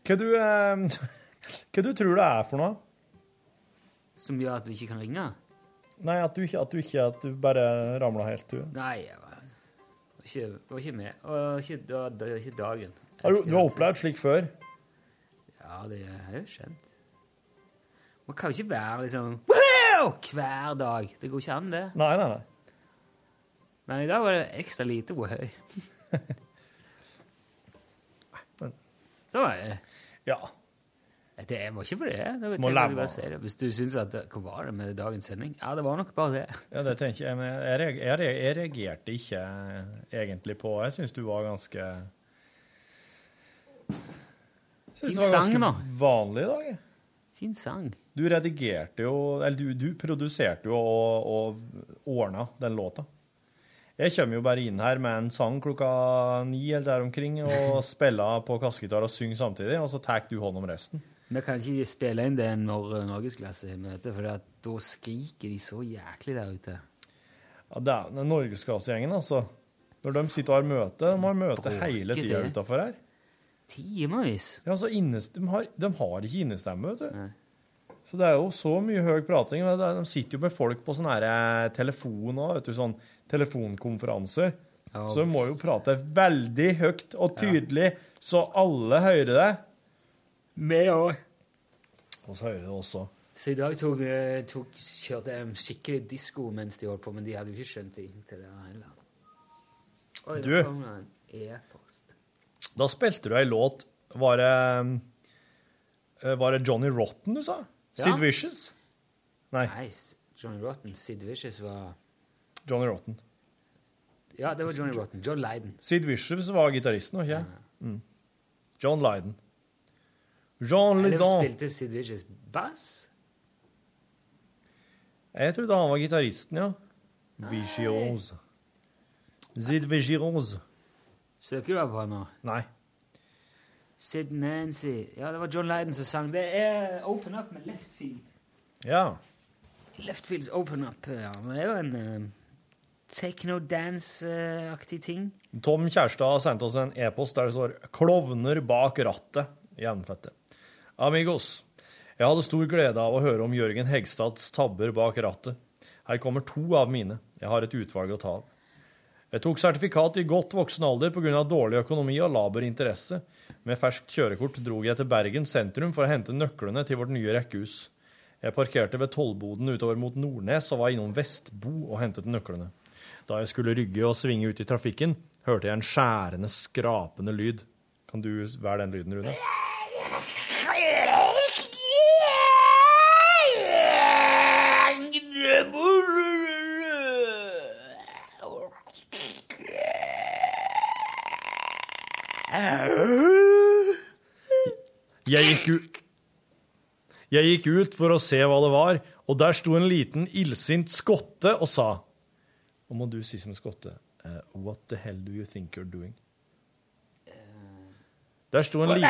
S3: Hva du, eh, hva du tror det er for noe?
S2: Som gjør at du ikke kan ringe?
S3: Nei, at du ikke, at du, ikke, at du bare ramla helt ut.
S2: Nei, jeg var, var ikke, var ikke med. Og ikke, det var, det var ikke dagen. Jeg
S3: Har du,
S2: skulle
S3: du har
S2: hatt-
S3: opplevd slik før?
S2: Ja, det er jo skjønt. Man kan jo ikke være liksom wow! hver dag. Det går ikke an, det.
S3: Nei, nei, nei.
S2: Men i dag var det ekstra lite wow. Så var det.
S3: Ja.
S2: Det var ikke for det. det var
S3: Små
S2: tenk at du
S3: lemmer.
S2: bare sier det. Hvis du syns at det- Hva var det med dagens sending? Ja, det var nok bare det.
S3: Ja, det tenker jeg, men jeg, reag- jeg, reag- jeg reagerte ikke egentlig på Jeg syns du var ganske Jeg synes
S2: Fin
S3: du var
S2: sang,
S3: ganske
S2: da.
S3: vanlig i dag. jeg.
S2: Fin sang.
S3: Du redigerte jo Eller du, du produserte jo og, og ordna den låta. Jeg kommer jo bare inn her med en sang klokka ni eller der omkring og spiller på kassegitar og synger samtidig, og så tar du hånd om resten.
S2: Vi kan ikke spille inn det når eh, norgesklasse har møte, for at da skriker de så jæklig der ute.
S3: Ja, det er den norgesklassegjengen, altså. Når de sitter og har møte, de har møte hele tida
S2: til.
S3: utafor her.
S2: Timevis.
S3: Ja, så innes, de, har, de har ikke innestemme, vet du. Så det er jo så mye høy prating. men det er- De sitter jo med folk på sånne her, eh, telefon og, vet du, sånn telefonkonferanser. Så de må jo prate veldig høyt og tydelig, så alle hører det.
S2: Vi òg.
S3: Og så hører det også.
S2: Så i dag tok, eh, tok, kjørte jeg en skikkelig disko mens de holdt på, men de hadde jo ikke skjønt det inntil det var heller. Oi,
S3: Du.
S2: der kom det en e-post.
S3: Da spilte du ei låt Var det eh, Var det Johnny Rotten du sa?
S2: Ja.
S3: Sid Vicious? Nei,
S2: Nice. Johnny Rotten. Sid Vicious var
S3: Johnny Rotten.
S2: Ja, det var Johnny Rotten. John Lydon.
S3: Sid Vicious var gitaristen, var ikke jeg? Mm. John Lydon. Jean
S2: Eller
S3: Lydon.
S2: spilte Sid Vicious bass?
S3: Jeg trodde han var gitaristen, ja. Vicious. Sid Vicious.
S2: Søker du deg på han nå?
S3: Nei.
S2: Sid Nancy. Ja, det var John Lydon som sang. Det er Open Up med Left Field.
S3: Ja.
S2: Left Fields Open Up. Ja. Men Det er jo en eh, techno-dance-aktig ting.
S3: Tom Kjærstad sendte oss en e-post der det står 'Klovner bak rattet'. Jevnfette. Amigos, jeg hadde stor glede av å høre om Jørgen Hegstads tabber bak rattet. Her kommer to av mine. Jeg har et utvalg å ta av. Jeg tok sertifikat i godt voksen alder pga. dårlig økonomi og laber interesse. Med ferskt kjørekort drog jeg til Bergen sentrum for å hente nøklene til vårt nye rekkehus. Jeg parkerte ved tollboden utover mot Nordnes og var innom Vestbo og hentet nøklene. Da jeg skulle rygge og svinge ut i trafikken, hørte jeg en skjærende, skrapende lyd. Kan du være den lyden, Rune? Jeg gikk, u jeg gikk ut for å se hva det var, og der sto en liten illsint skotte og sa Og må du si som skotte eh, What the hell do you think you're doing? Der sto en liten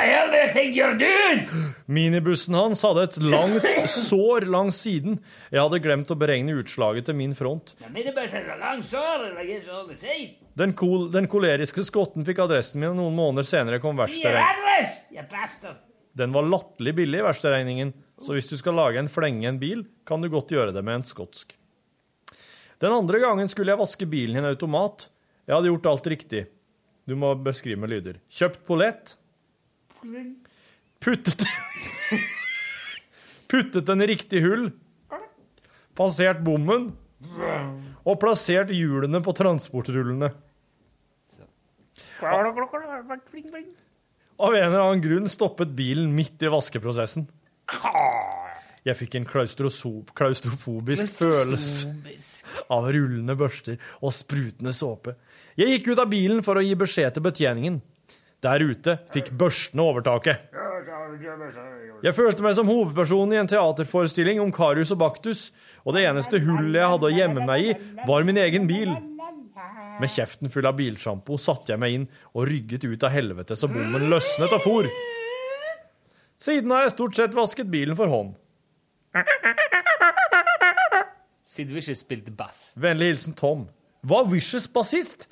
S3: Minibussen hans hadde et langt sår langs siden. Jeg hadde glemt å beregne utslaget til min front. Den, kol den koleriske skotten fikk adressen min, og noen måneder senere kom verkstedet. Den var latterlig billig, verkstedregningen, så hvis du skal lage en flenge i en bil, kan du godt gjøre det med en skotsk. Den andre gangen skulle jeg vaske bilen i en automat. Jeg hadde gjort alt riktig. Du må beskrive med lyder. Kjøpt pollett. Puttet Puttet den i riktig hull. Passert bommen. Og plassert hjulene på transportrullene. Av en eller annen grunn stoppet bilen midt i vaskeprosessen. Jeg fikk en klaustroso- klaustrofobisk følelse av rullende børster og sprutende såpe. Jeg gikk ut av bilen for å gi beskjed til betjeningen. Der ute fikk børstene overtaket. Jeg følte meg som hovedpersonen i en teaterforestilling om Karius og Baktus, og det eneste hullet jeg hadde å gjemme meg i, var min egen bil. Med kjeften full av bilsjampo satte jeg meg inn og rygget ut av helvete så bommen løsnet og for. Siden har jeg stort sett vasket bilen for hånd.
S2: Sid Vicious spilte bass.
S3: Vennlig hilsen Tom. Var Vicious bassist?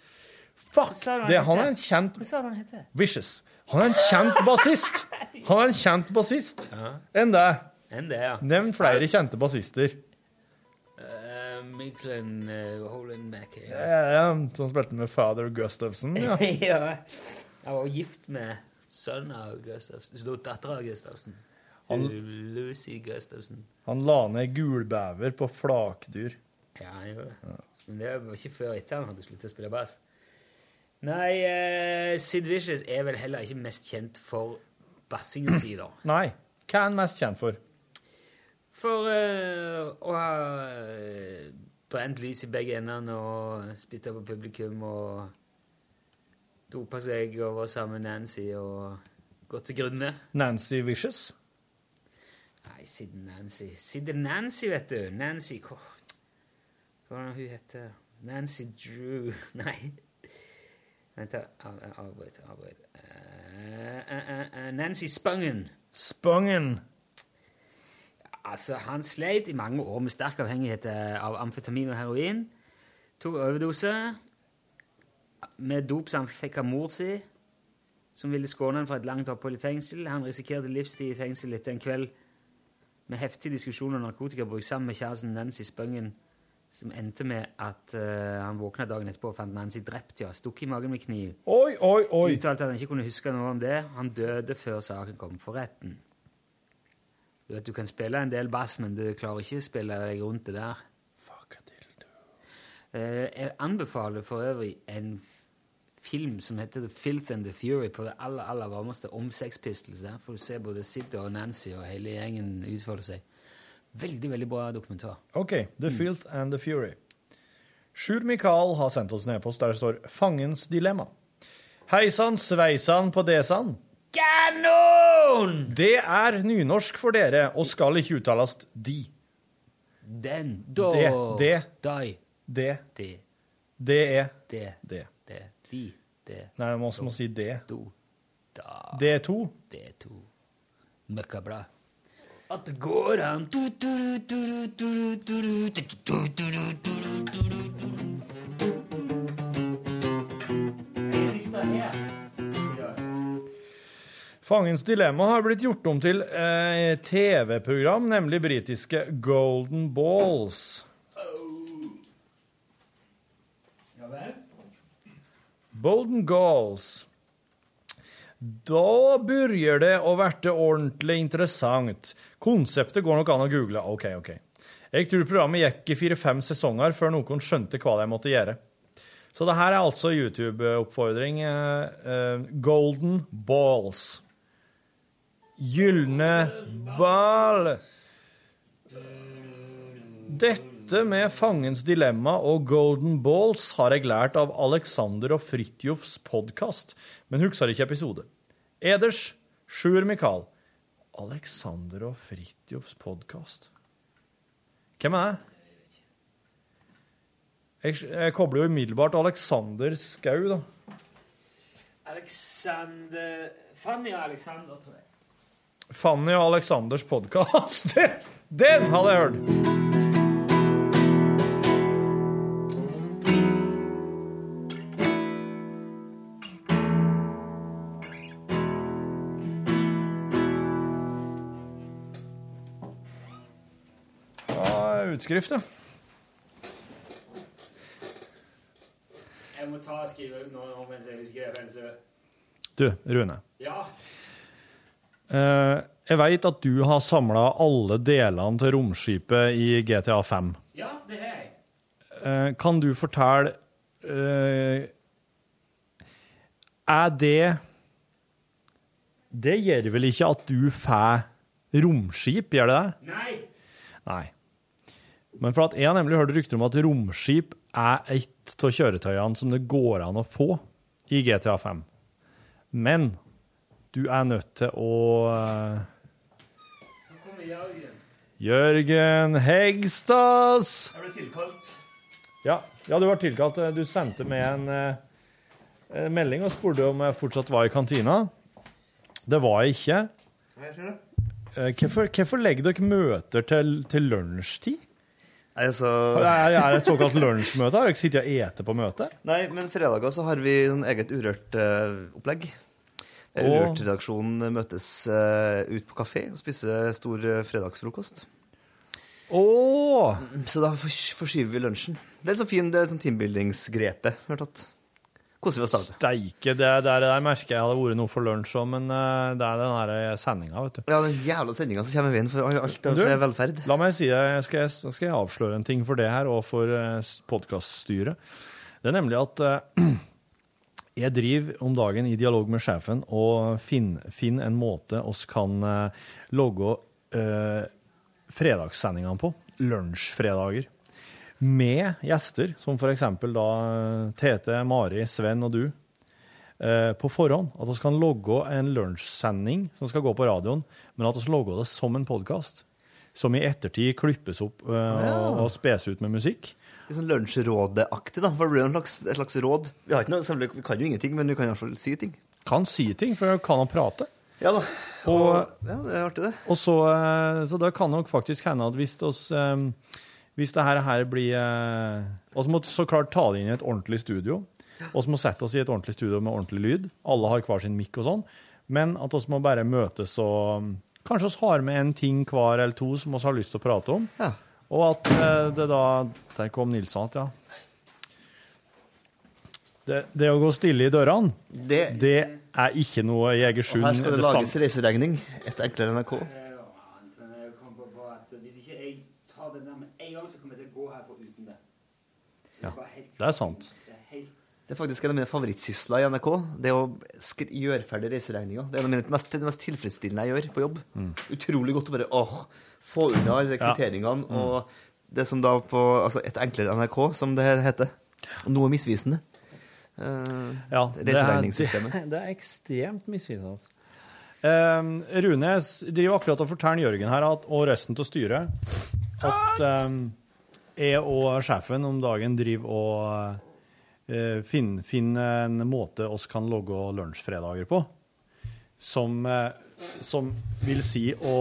S3: Fuck! Det, han er en kjent
S2: Hva sa du han heter?
S3: Vicious. Han er en kjent bassist. Han er en kjent bassist enn det.
S2: Enn det, ja.
S3: Nevn flere kjente bassister.
S2: Uh, Miklen uh, Holden Mack.
S3: Ja, ja, Som spilte med Father Gustavsen. Ja.
S2: ja. Jeg var gift med sønnen av Gustavsen. Så dattera av Gustavsen.
S3: Han-
S2: Lucy Gustavsen.
S3: Han la ned gulbæver på flakdyr.
S2: Ja, han gjorde det. Men det var ikke før etter han hadde sluttet å spille bass. Nei, eh, Sid Vicious er vel heller ikke mest kjent for bassingen si, da.
S3: Nei. Hva er han mest kjent for?
S2: For eh, å ha eh, brent lys i begge endene og spytta på publikum og dopa seg over sammen med Nancy og gått til grunne.
S3: Nancy Vicious?
S2: Nei, Sid Nancy. Sid Nancy, vet du. Nancy Hva hva var det hun heter? Nancy Drew Nei. Vent, da. Av- av- avbryt. avbryt. Eh, eh, eh, eh, Nancy Spangen.
S3: Spangen.
S2: Altså, han sleit i mange år med sterk avhengighet eh, av amfetamin og heroin. Tok overdose. Med dop som han fikk av mor si, som ville skåne han fra et langt opphold i fengsel. Han risikerte livstid i fengsel etter en kveld med heftig diskusjon om narkotikabruk sammen med kjæresten Nancy Spøngen, som endte med at eh, han våkna dagen etterpå og fant Nancy drept, ja, stukket i magen med kniv.
S3: Oi, oi, oi.
S2: Uttalte at han ikke kunne huske noe om det. Han døde før saken kom for retten. Du vet, du kan spille en del bass, men du klarer ikke å spille deg rundt det der. Eh, Jeg anbefaler for øvrig en f- film som heter The Filth and the Fury på det aller, aller varmeste om Sex Pistols. Der får du se både Sid og Nancy og hele gjengen utfolde seg. Veldig, veldig bra dokumentar.
S3: OK. The Filth and the Fury. Sjur Mikael har sendt oss en e-post der det står 'Fangens dilemma'. Hei sann, sveisann på desan. Kanon! Det er nynorsk for dere og skal ikke uttales de.
S2: Den, da
S3: Det, det,
S2: Dei.
S3: det,
S2: Det.
S3: det er
S2: Det.
S3: det.
S2: Det. De. Det.
S3: e. Nei, man må, må si det.
S2: Do.
S3: Det er to.
S2: Det er to. Møkkabra. At det går an. Du, du, du, du, du, du, du, du, du, du, du.
S3: Fangens dilemma har blitt gjort om til eh, TV-program, nemlig britiske Golden Balls.
S2: Ja vel?
S3: Bolden Goals. Da begynner det å verte ordentlig interessant. Konseptet går nok an å google. OK, OK. Jeg tror programmet gikk i fire-fem sesonger før noen skjønte hva de måtte gjøre. Så det her er altså YouTube-oppfordring. eh, eh, Golden Balls. Gylne ball. Dette med fangens dilemma og golden balls har jeg lært av Alexander og Fridtjofs podkast, men husker ikke episode. Eders Sjur Mikael. Alexander og Fridtjofs podkast Hvem er det? Jeg, jeg kobler jo umiddelbart Alexander Skau, da.
S2: Alexander Fanny og Alexander, tror jeg.
S3: Fanny og Alexanders podkast. Den hadde jeg hørt! Ja, Utskrift, ja.
S2: Jeg må ta og skrive ut noe nå mens jeg husker det. mens jeg-
S3: Du, Rune.
S2: Ja.
S3: Eh, jeg veit at du har samla alle delene til romskipet i GTA 5.
S2: ja, det har jeg.
S3: Eh, kan du fortelle eh, Er det Det gjør vel ikke at du får romskip, gjør det det?
S2: Nei.
S3: Nei. Men for at jeg har nemlig hørt rykter om at romskip er et av kjøretøyene som det går an å få i GTA 5. Men du er nødt til å eh,
S2: Nå kommer Jørgen.
S3: Jørgen Hegstads!
S14: Jeg ble tilkalt.
S3: Ja, ja du var tilkalt. Du sendte med en eh, melding og spurte om jeg fortsatt var i kantina. Det var jeg ikke.
S14: Hva skjer det?
S3: Eh, Hvorfor, hvorfor legger dere møter til, til lunsjtid?
S14: Altså...
S3: Er er det et såkalt lunsjmøte? Har dere sittet og ete på møtet?
S14: Nei, men fredager så har vi sånn eget eh, Urørt-opplegg. Der
S3: Åh.
S14: Urørt-redaksjonen møtes eh, ut på kafé og spiser stor eh, fredagsfrokost.
S3: Mm,
S14: Så da fors- forskyver vi lunsjen. Det er så fin, det er sånn teambuildingsgrepet vi har tatt. Koser vi oss da. vet du.
S3: Steike, det der, der merker jeg hadde vært noe for lunsj òg, men eh, det er den sendinga, vet du.
S14: Ja, den jævla sendinga som kommer i veien for alt av
S3: Du,
S14: velferd.
S3: La meg si deg, jeg skal, jeg skal jeg avsløre en ting for det her, og for eh, podcaststyret. Det er nemlig at eh, jeg driver om dagen i dialog med sjefen og finner finn en måte oss kan eh, logge eh, fredagssendingene på, lunsjfredager, med gjester, som for eksempel da eh, Tete, Mari, Sven og du, eh, på forhånd. At vi kan logge en lunsjsending som skal gå på radioen, men at vi logger det som en podkast. Som i ettertid klippes opp eh, og, og spes ut med musikk.
S14: Litt sånn lunsjrådeaktig, da. For det blir jo en slags, et slags råd. Vi, har ikke noe, selvfølgelig- vi kan jo ingenting, men vi kan i hvert fall si ting.
S3: Kan si ting, for kan han prate.
S14: Ja da. Og,
S3: Og-
S14: ja, det er artig, det.
S3: Og så, eh, så da kan det nok faktisk hende at hvis, oss, eh, hvis det her, her blir eh, Og så må vi så klart ta det inn i et ordentlig studio. Og så må vi sette oss i et ordentlig studio med ordentlig lyd. Alle har hver sin mikk og sånn. Men at oss må bare møtes og mm, Kanskje oss har med en ting hver eller to som oss har lyst til å prate om. Og at eh, det da Der kom Nilsson igjen, ja. Det, det å gå stille i dørene, det, er ikke noe
S14: Og
S3: Jegersund
S14: her skal det
S3: stam-
S14: lages reiseregning etter enklere NRK.
S2: Jeg kom på bare at Hvis ikke jeg tar den der med en gang, så kommer jeg til å gå herfra uten det.
S14: Ja,
S2: bare helt-
S3: det er sant.
S2: Det er helt
S14: Det er faktisk en av mine favorittsysler i NRK. Det å skri- gjøre ferdig reiseregninga. Det er en av mine mest, det mest tilfredsstillende jeg gjør på jobb.
S3: Mm.
S14: Utrolig godt å bare åh, få unna alle
S3: Ja.
S14: rekrutteringene
S3: Mm.
S14: og det som da på altså Et enklere NRK, som det heter. Noe misvisende. Eh,
S3: Ja, det er,
S14: reiseregningssystemet.
S3: det er ekstremt misvisende. Altså. Um, Rune s- driver akkurat og forteller Jørgen her at, og resten av styret at um, jeg og sjefen om dagen driver og uh, finner finn en måte oss kan logge lunsjfredager på, som, eh, som vil si å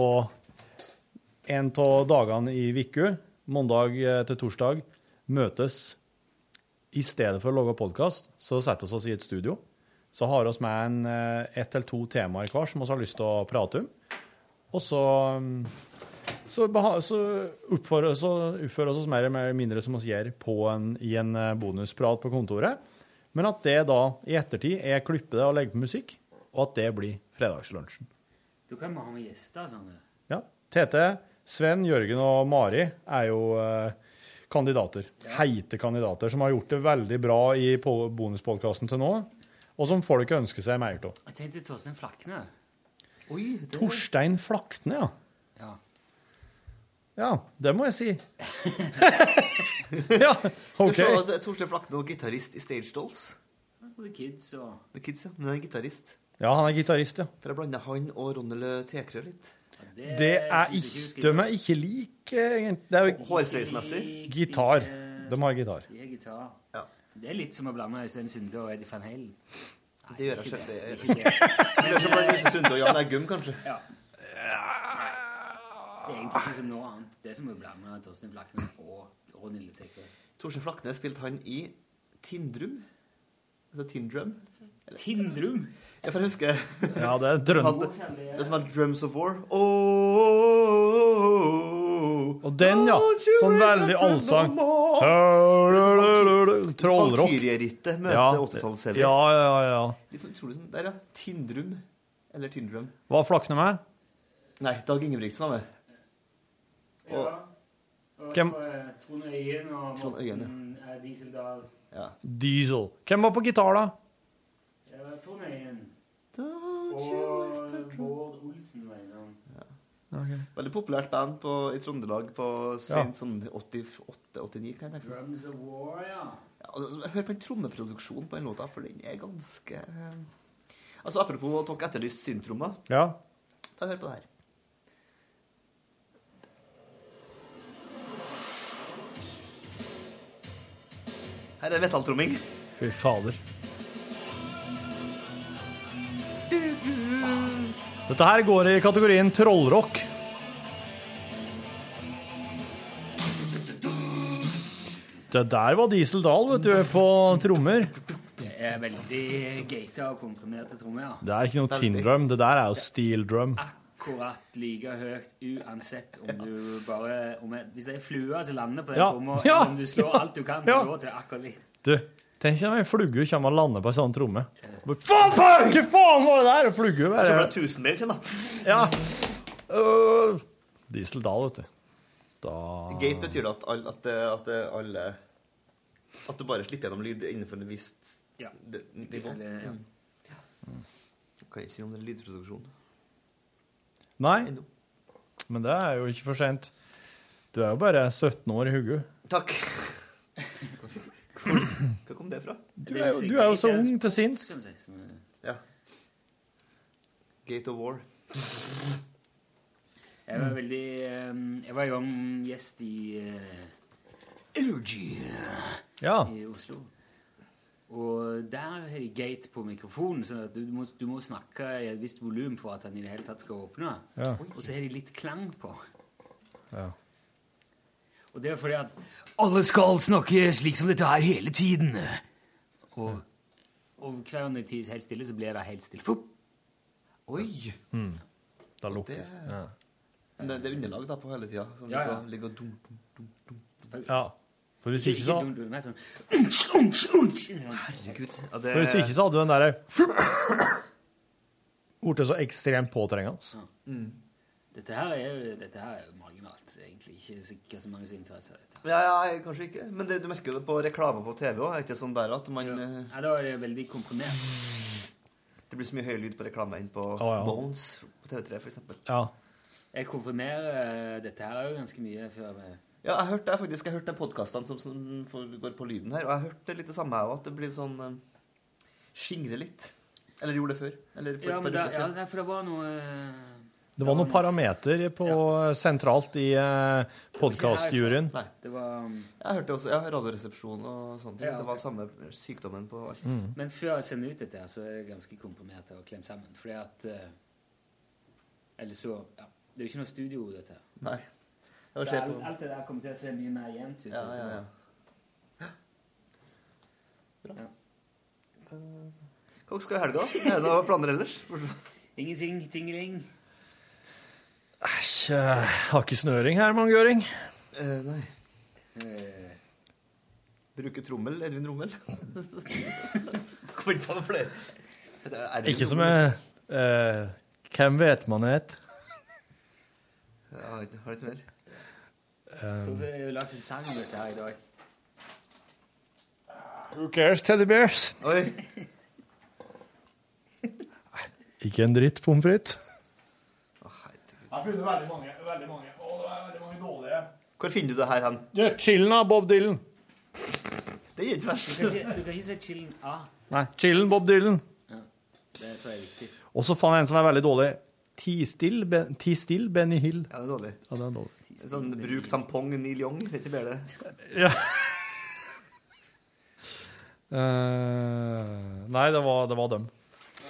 S3: en av dagene i uka, mandag eh, til torsdag, møtes i stedet for å lage podkast, så setter vi oss i et studio. Så har vi med en, eh, ett eller to temaer hver som vi har lyst til å prate om. Og så, mm, så, beha- så oppfører oss- så oppfører vi oss mer eller mindre som vi gjør på en, i en eh, bonusprat på kontoret. Men at det da, i ettertid, jeg klipper det og legger på musikk, og at det blir fredagslunsjen.
S2: Du kan bare ha med gjester og sånn.
S3: Ja. Tete, Sven, Jørgen og Mari er jo eh, kandidater. Heite kandidater som har gjort det veldig bra i po- bonuspodkasten til nå, og som folk ønsker seg mer av.
S2: Jeg tenkte Torstein Flakne.
S14: Oi,
S3: Torstein Flakne, ja.
S2: Ja.
S3: Ja, det må jeg si. ja,
S14: Skal
S3: OK.
S14: vi se at Torstein Flakne og gitarist i Stage Dolls.
S2: The Kids og
S14: The Kids, ja. Men han er gitarist.
S3: Ja, han er gitarist, ja.
S14: For jeg blander han og Ronny Tekrø litt.
S3: Det er ikke, de er ikke like, egentlig. Det er jo
S14: Hårsveismessig?
S3: Gitar. De har gitar.
S2: De er gitar. Det er litt som å blande Øystein Sunde og Eddie van Halen. Nei,
S14: Det gjør
S2: ikke
S14: jeg selv, det er-
S2: ikke
S14: Det er som å blande Øystein Sunde og Jan Eggum, kanskje.
S2: Ja. Det er egentlig ikke som noe annet. Det er som å blande Torstein Flakne og Ronny Luteker.
S14: Torstein Flakne spilte han i Tindrum. Altså Tindrum. Eller-
S2: Tindrum?
S14: Ja, for jeg husker
S3: Ja, det er drøm-
S14: som hadde- Det som het Drums of War. Oh,
S3: Og den, ja. Sånn veldig allsang. Trollrock.
S14: Valkyrierittet møter
S3: Ja,
S14: 80-tallsheavy.
S3: Ja, ja, ja.
S14: Litt sånn utrolig sånn Der, ja. Tindrum. Eller Tindrum.
S3: Hva flakner med?
S14: Nei, Dag Ingebrigtsen var med. Og
S3: Hvem-
S2: Trond Øyen og
S14: Trond Øyen,
S7: mm.
S14: ja.
S2: eh, Dieseldal.
S14: ja.
S3: Diesel. Hvem var på gitar, da?
S2: Det var Trond Øyen.
S14: Og
S2: Bård Olsen var innom.
S14: Veldig populært band på, i Trøndelag på
S2: Ja.
S14: sent sånn 88-89, kan jeg tenke meg.
S2: Drums of War, ja.
S14: Ja, altså, Hør på en trommeproduksjon på den låta, for den er ganske eh, Altså, Apropos at dere etterlyste syntrommer.
S3: Ja.
S14: Da hør på det her. Her er metalltromming.
S3: Fy fader. Dette her går i kategorien trollrock. Det der var Diesel Dahl, vet du, på trommer.
S2: Det er veldig gata og komprimerte trommer, ja.
S3: Det er ikke noe tin drum, det der er jo steel drum.
S2: Akkurat like høyt uansett om du bare om jeg, Hvis det er flua som lander på den
S3: Ja.
S2: tromma,
S3: Ja.
S2: eller om du slår alt du kan, så
S3: Ja.
S2: låter det akkurat likt.
S3: Du, tenk deg om ei flugge kommer og lander på ei sånn tromme. Hva faen var det der? En Flugge
S14: Så ble
S3: bare
S14: det tusenbein, kjenn da.
S3: Ja. Øh, Diesel Dahl, vet du. Da
S14: Gate betyr det at, all, at, det- at det alle At du bare slipper gjennom lyd innenfor en visst
S2: Ja.
S14: det- nivå.
S2: Eller, ja.
S14: Mm. Jeg Kan ikke si om det er lydproduksjon.
S3: Nei. Men det er jo ikke for sent. Du er jo bare 17 år i hodet.
S14: Takk. Hvor, hvor kom det fra?
S3: Du er jo- du er jo så ung til sinns.
S14: Ja. Gate of War.
S2: Jeg var veldig eh, Jeg var jo en gjest i eh, Energy eh,
S3: Ja.
S2: i Oslo. Og der har de gate på mikrofonen, sånn at du må, du må snakke i et visst volum for at den i det hele tatt skal åpne.
S3: Ja.
S2: Og så har de litt klang på.
S3: Ja.
S2: Og det er fordi at alle skal snakke slik som dette her hele tiden. Og, og hver gang det ties helt stille, så blir det helt stille. Fup!
S14: Oi!
S3: Mm. Da
S14: Det,
S3: lukkes. Ja.
S14: men det, det er underlag da på hele tida. Som
S2: Ja, ja.
S14: ligger- ligger og dum, dum, dum, dum.
S3: Ja. For hvis ikke så
S2: dum, dum, men sånn, «Unch, unch, unch!»
S14: Herregud. Ja,
S3: For hvis ikke så hadde du den derre Blitt så ekstremt påtrengende.
S2: Dette her er jo dette her er jo marginalt. Det er Egentlig ikke sikkert så mange som interesser dette.
S14: Ja, ja, jeg- kanskje ikke. Men det, du merker jo det på reklame på TV òg. Er ikke sånn der at man eh,
S2: Nei, da er det veldig komprimert.
S14: Det blir så mye høy lyd på reklame enn på
S3: ja.
S14: Bones på TV3, for eksempel.
S3: Ja.
S2: Jeg komprimerer eh, dette her jo ganske mye før vi
S14: Ja, jeg hørte jeg faktisk, jeg hørte de podkastene som, som foregår på lyden her, og jeg hørte litt det samme her òg, at det blir sånn eh, Skingre litt. Eller gjorde det før. Eller for
S2: Ja,
S14: et
S2: men da,
S14: par uker
S2: ja,
S14: siden.
S2: nei, for det var noe
S3: Det var noen parameter på, sentralt i eh, podcastjuryen.
S14: Nei.
S2: eh, Det var um,
S14: Jeg hørte også ja, Radioresepsjon og sånne ting.
S2: Ja,
S14: Det var samme sykdommen på alt.
S3: Mm.
S2: Men før jeg sender ut dette, her, så er det ganske komprimert og klemt sammen. Fordi at eh, Eller så ja, Det er jo ikke noe studio, dette. her.
S14: Nei. Jeg må
S2: Så
S14: se
S2: alt,
S14: på-
S2: alt det der kommer til å se mye mer jevnt ut.
S14: Ja, ja, ja.
S2: Ja.
S14: Hva skal vi i helga? Er det noen planer ellers?
S2: Ingenting. Tingeling.
S3: Æsj. eh, Har ikke snøring her, mann Gøring.
S14: Eh, nei. Eh, Bruke trommel? Edvin Rommel? Kom ikke på noe flere. Er det- er det
S3: Ikke som
S14: trommel?
S3: jeg eh, Hvem vet man het?
S14: Jeg har ikke- har ikke mer.
S2: Jeg tror
S3: Um,
S2: vi har lagd en sang om dette her i dag.
S3: who cares, teddy bears?
S14: Oi.
S3: Ikke en dritt, pommes frites.
S11: Jeg har funnet veldig mange. veldig mange. Og det er veldig mange dårlige.
S14: Hvor finner du det her hen?
S3: Du, chillen av Bob Dylan.
S14: Det er ikke
S2: Du
S14: verst.
S2: kan ikke, du kan ikke si chillen A.
S3: Nei, chillen Bob Dylan.
S2: Det tror jeg er viktig.
S3: Og så fant jeg en som er veldig dårlig. Ti still, ben, ti still Benny Hill.
S14: Ja, det er dårlig.
S3: Ja, det er dårlig.
S14: En sånn bruk tampong Neil Young. Det er Ikke bedre.
S3: Ja. Eh, nei, det var, det var dem.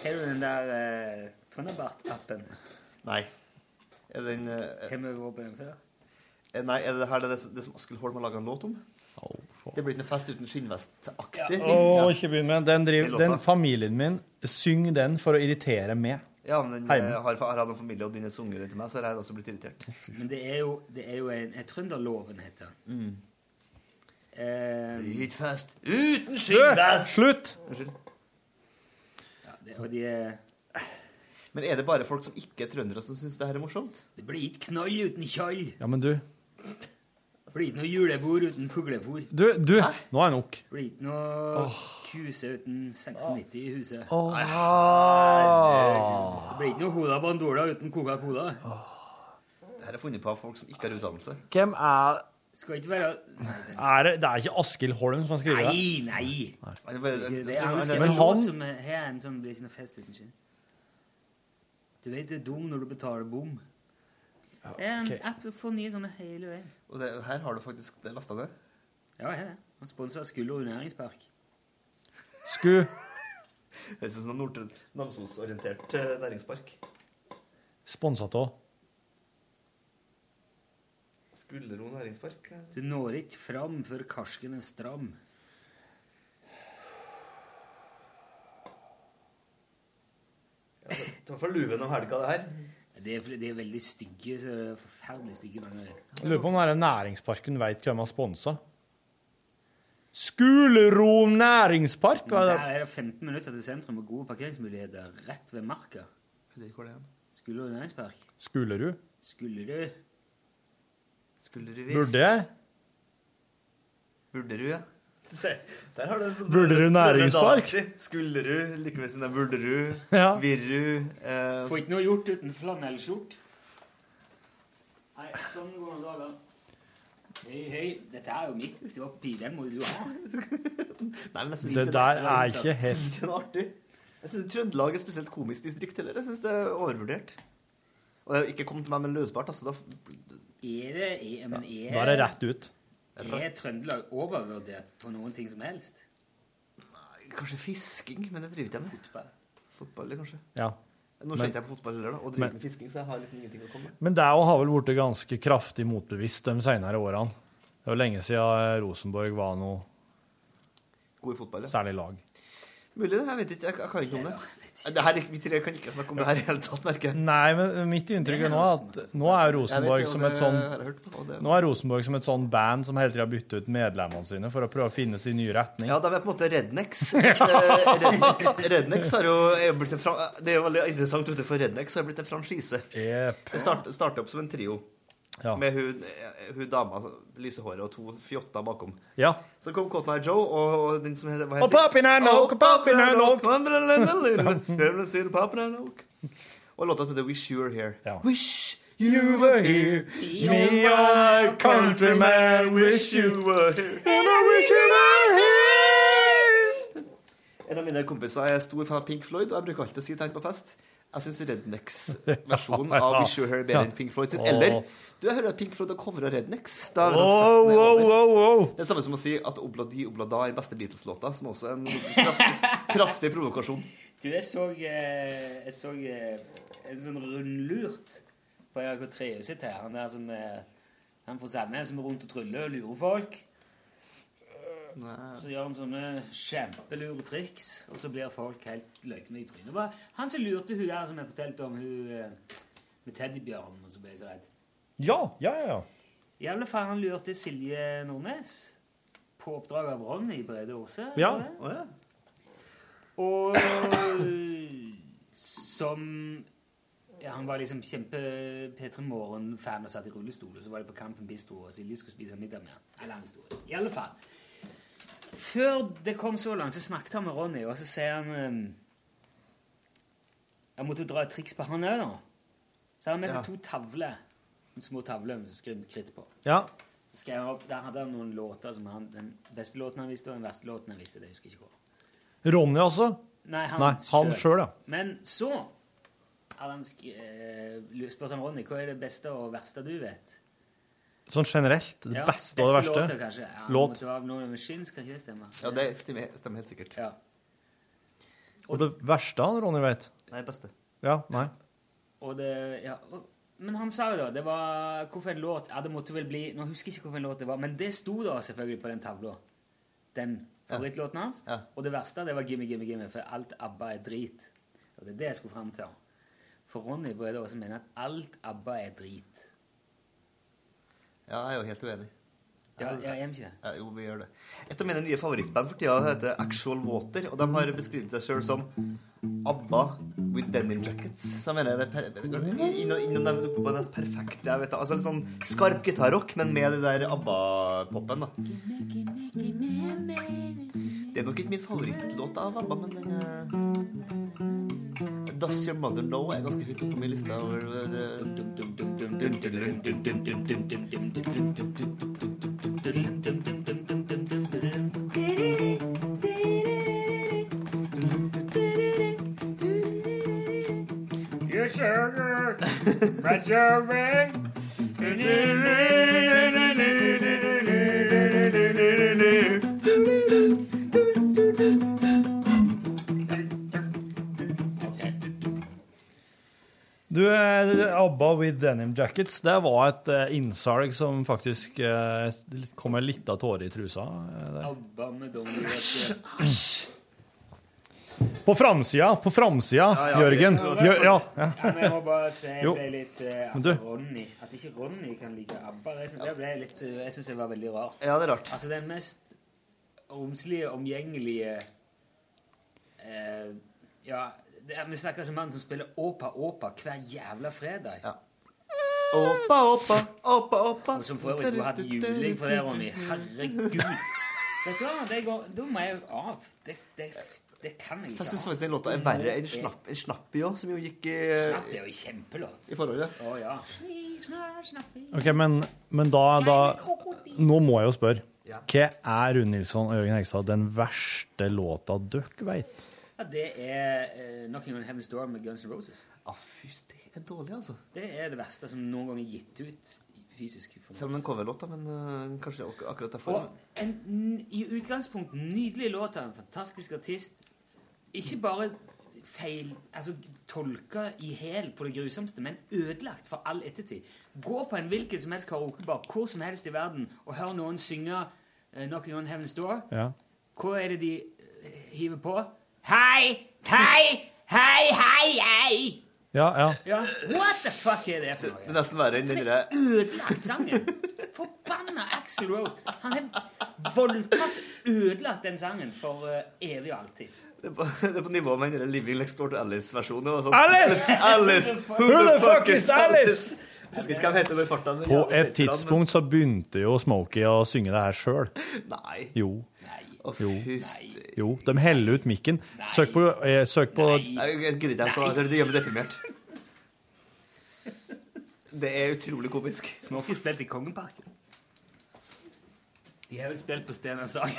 S2: Har du den der uh, Trønderbart-appen?
S14: Nei. Er den eh,
S2: Har vi vært på den før?
S14: eh, Nei, er det her det, det som Askild Holm har laga en låt om? det blir ikke noe fest uten skinnvestaktig ting.
S3: Å, ikke begynn med den.
S14: Den
S3: Driver,
S14: låta.
S3: den familien min synger den for å irritere meg.
S14: Ja, men den
S3: Heime.
S14: eh, har, har hatt en familie, og den er sunget til meg, så jeg har også blitt irritert.
S2: Men det er jo, det er jo en, en Trønderloven, heter den.
S14: Mm.
S2: Eh,
S14: Utfest uten
S3: skinnvest! Slutt!
S14: Unnskyld.
S2: ja, det, og de er
S14: Men er det bare folk som ikke er trøndere, som syns det her er morsomt?
S2: Det blir ikke knall uten kjall.
S3: Ja, men du
S2: Det blir ikke noe julebord uten fuglefôr.
S3: Du, du nå er jeg nok.
S2: Det blir ikke noe kuse uten 96 i huset.
S3: Åh.
S2: Det blir ikke noe Hoda Bandola uten Coca-Cola.
S14: Det her er funnet på av folk som ikke har utdannelse.
S3: Hvem er
S2: Skal ikke være
S3: Er det, det er ikke Askild Holm som har skrevet det?
S2: Nei, nei! Det er
S14: Men
S2: han skrev
S3: han-
S2: en låt som eh, har en sånn blir ikke noe fest uten skinn. Du vet du er dum når du betaler bom. Det er en
S14: ok.
S2: app du får nye sånne hele veien.
S14: Og det, her har du faktisk det lasta ned.
S2: Ja, jeg er det. Han sponser Skullerud næringspark.
S3: Sku.
S14: Høres ut som en Namsos-orientert eh, næringspark.
S3: Sponsa av
S14: Skuldero næringspark. eh.
S2: Du når ikke fram før karsken er stram.
S14: Ja, det var fra luven om helga, det her.
S2: Det er, det er veldig stygge, så det er forferdelig stygge mange.
S3: Jeg lurer på om denne næringsparken veit hvem har sponsa. Skulero næringspark?
S2: Men
S3: Hva er
S2: der
S3: det?
S2: er det 15 minutter til sentrum og gode parkeringsmuligheter rett ved marka. Skullerud næringspark.
S3: Skulerud?
S2: Skullerud.
S14: Skullerud
S3: Burde jeg?
S14: Bulderud, ja. Se, Der har du en sånn
S3: Bulderud næringspark.
S14: Skullerud, likevel siden det er Bulderud,
S3: Ja.
S14: Virru eh,
S2: Får ikke noe gjort uten flanellskjort. Nei, sånn går det da. Hei, hei. Dette er jo mitt. Det var pi, den må du ha.
S14: Nei, men jeg synes
S3: Det
S14: ikke-
S3: der er ikke
S14: Jeg synes
S3: helt-
S14: ikke det er artig. Jeg syns Trøndelag er et spesielt komisk distrikt heller. Jeg syns det er overvurdert. Og jeg har ikke kommet til meg med løsbart, altså. Da,
S2: Er det E er, men er,
S3: Da er det rett ut.
S2: Er Trøndelag overvurdert på noen ting som helst?
S14: Kanskje fisking, men det driver ikke jeg med. Fotball. Fotball, ja, kanskje.
S3: Ja.
S14: Nå
S3: Men-
S14: skjønte jeg på fotball heller, da, og driver
S3: Men-
S14: med fisking, så jeg har liksom ingenting å komme med.
S3: Men det òg har vel blitt ganske kraftig motbevist de senere årene. Det er jo lenge siden eh, Rosenborg var noe
S14: God i fotball, ja.
S3: særlig lag.
S14: Mulig det, jeg vet ikke. Jeg, jeg kan ikke om det. det her, er ikke- vi tre kan ikke snakke om det her i det hele tatt, merker jeg.
S3: Nei, men mitt inntrykk er nå at nå er jo Rosenborg
S14: Jeg vet det, og
S3: som
S14: det
S3: et sånn
S14: har jeg hørt på, og det-
S3: Nå er Rosenborg som et sånn band som hele tida bytter ut medlemmene sine for å prøve å finne sin nye retning.
S14: Ja, da er vi på en måte rednecks. Eh, Redneck- Rednecks har jo, er jo blitt en fra, Det er jo veldig interessant, vet du, for Rednecks har blitt en franchise. Det start, startet opp som en trio
S3: Ja.
S14: med hun, eh, hun dama, lysehåret og to fjotter bakom.
S3: Ja.
S14: Så kom Cotton Eye Joe og, og den som heter hva
S3: Og Poppin' and Oak,
S14: Og
S3: Poppin' and Oak.
S14: Poppin' and Oak. Og låta som heter Wish You Were Here. Wish you were here, me my countryman. Wish you were here, and I wish you were here. En av mine kompiser er stor fan av Pink Floyd, og jeg bruker alltid å si til han på fest jeg syns Rednecks-versjonen av Wish You Were Here er bedre enn Pink Floyd sin. Eller du, jeg hører at Pink Floyd har covra Rednecks. Da er det sånn at festen er over. Det er samme som å si at Obladi Oblada er den beste Beatles-låta, som også er en kraftig, kraftig provokasjon.
S2: Du, jeg så, eh, jeg så eh, en sånn rundlurt på NRK3 sitt her. Han der som eh, Han fra Sandnes som er rundt og tryller og lurer folk. Så gjør han sånne kjempelure triks, og så blir folk helt løgne i trynet. Det var han som lurte hun der som jeg fortalte om, hun eh, med teddybjørnen, og så ble jeg så redd.
S3: Ja, ja, ja.
S2: I alle fall han lurte Silje Nordnes på oppdrag av Ronny Brede Aase.
S3: Ja.
S2: var det? Og som ja, Han var liksom kjempe P3 Morgen-fan og satt i rullestol. Og så var de på Kampen Bistro, og Silje skulle spise middag med han. En lang historie. I alle fall. Før det kom så langt, så snakket han med Ronny, og så sier han ehm, Jeg måtte jo dra et triks på han òg, da. Så han har med seg
S3: Ja.
S2: to tavler. Små tavler med skriv- kritt på.
S3: Ja.
S2: Så skrev han opp, Der hadde han noen låter som han Den beste låten han visste, og den verste låten han visste. Det husker jeg ikke hva.
S3: Ronny, altså?
S2: Nei, han,
S3: Nei, han
S2: selv.
S3: sjøl, ja.
S2: Men så hadde han sk eh, spurt han Ronny hva er det beste og verste du vet.
S3: Sånn generelt. Det
S2: Ja,
S3: beste og det verste.
S2: Låter, kanskje. Ja,
S3: Låt.
S2: Måtte være noe med skyns, kan ikke det stemme?
S14: Ja, det stemmer, stemmer helt sikkert.
S2: Ja.
S3: Og det verste han Ronny vet?
S14: Nei, beste.
S3: Ja, nei.
S2: Og det, ja, og, men han sa jo da, det var hvorfor en låt Ja, det måtte vel bli Nå husker jeg ikke hvorfor en låt det var, men det sto da selvfølgelig på den tavla. Den favorittlåten hans. Og det verste, det var Gimme, Gimme, Gimme, for alt ABBA er drit. Og det er det jeg skulle fram til. For Ronny burde også mene at alt ABBA er drit.
S14: Ja, jeg er jo helt uenig.
S2: Ja, jeg er ikke det.
S14: Ja, jo, vi gjør det. Et av mine nye favorittband for tida heter Actual Water, og de har beskrevet seg sjøl som ABBA with denim jackets. Så jeg mener det er per- innom innom dem på det mest perfekte jeg vet. Altså litt sånn skarp gitarrock, men med det der ABBA-popen, da. Det er nok ikke min favorittlåt av ABBA, men den eh, Does Your Mother Know er ganske høyt oppe på min liste over
S1: Your sugar, my sugar.
S3: Du, eh, ABBA with denim jackets, det var et eh, innsalg som faktisk eh, litt- kom en lita tåre i trusa. eh, der.
S2: ABBA med Donny Æsj!
S3: På framsida, på framsida,
S2: Ja, ja,
S3: Jørgen.
S2: det-
S3: Jø- ja.
S2: ja, men jeg må bare si jeg
S3: Jo.
S2: ble litt eh,
S3: Men
S2: altså,
S3: du,
S2: Ronny, At ikke Ronny kan like ABBA, det syns jeg ble litt eh, Jeg synes det var veldig rart.
S14: Ja, det er rart.
S2: Altså den mest romslige, omgjengelige eh, Ja, det, er- vi snakker altså som mann som spiller Åpa Åpa hver jævla fredag.
S14: Åpa, åpa, åpa, åpa.
S2: Og som for øvrig skulle hatt juling for det, Ronny. Herregud. Vet du hva, det går, da må jeg av. Det, det, det kan jeg ikke.
S14: For jeg syns
S2: ha.
S14: faktisk den låta er verre enn Snapp- en Snappy òg, som jo gikk i
S2: Snapp er jo en kjempelåt.
S14: I forhold, ja.
S2: Å ja.
S3: OK, men, men da, da Nå må jeg jo spørre. Hva er Rune Nilsson og Jørgen Hegstad den verste låta dere veit?
S2: ja det er eh, 'Knocking on Heaven's Door' med Guns N' Roses.
S14: Ah, fy, det er dårlig, altså.
S2: Det er det verste som noen gang er gitt ut i- fysisk. for meg.
S14: Selv om det er en coverlåt, da, men eh, kanskje ak akkurat derfor.
S2: Og en, n- i utgangspunktet nydelig låt av en fantastisk artist. Ikke bare feil Altså tolka i hæl på det grusomste, men ødelagt for all ettertid. Gå på en hvilken som helst karaokebar hvor som helst i verden og hør noen synge eh, 'Knocking on Heaven's Door'.
S3: Ja.
S2: Hva er det de eh, hiver på? Hei, hei, hei, hei, hei!
S3: Ja, ja.
S2: Ja, What the fuck er det for noe?
S14: Det er nesten verre enn den derre
S2: ødelagt sangen. Forbanna Axel Rose. Han har voldtatt, ødelagt den sangen for eh, evig og alltid.
S14: Det er på, det er på nivå med den der Living Next Door til Alice-versjonen. det var sånn,
S2: Alice!
S14: Alice!
S2: Who the fuck is
S3: Alice?
S14: Jeg husker ikke hva han heter med farta. men
S3: På
S14: jævla
S3: et
S14: sliter han,
S3: tidspunkt så begynte jo Smokey å synge det her sjøl.
S14: Nei.
S3: Jo.
S14: Å,
S3: Jo.
S14: fyst.
S3: jo. De heller ut mikken. Søk på, eh, søk på
S14: Jeg jeg gidder ikke, jeg sa det. Det gjør meg deprimert. Det er utrolig komisk.
S2: Smokie spilte i Kongeparken. De har vel spilt på Stena Sag.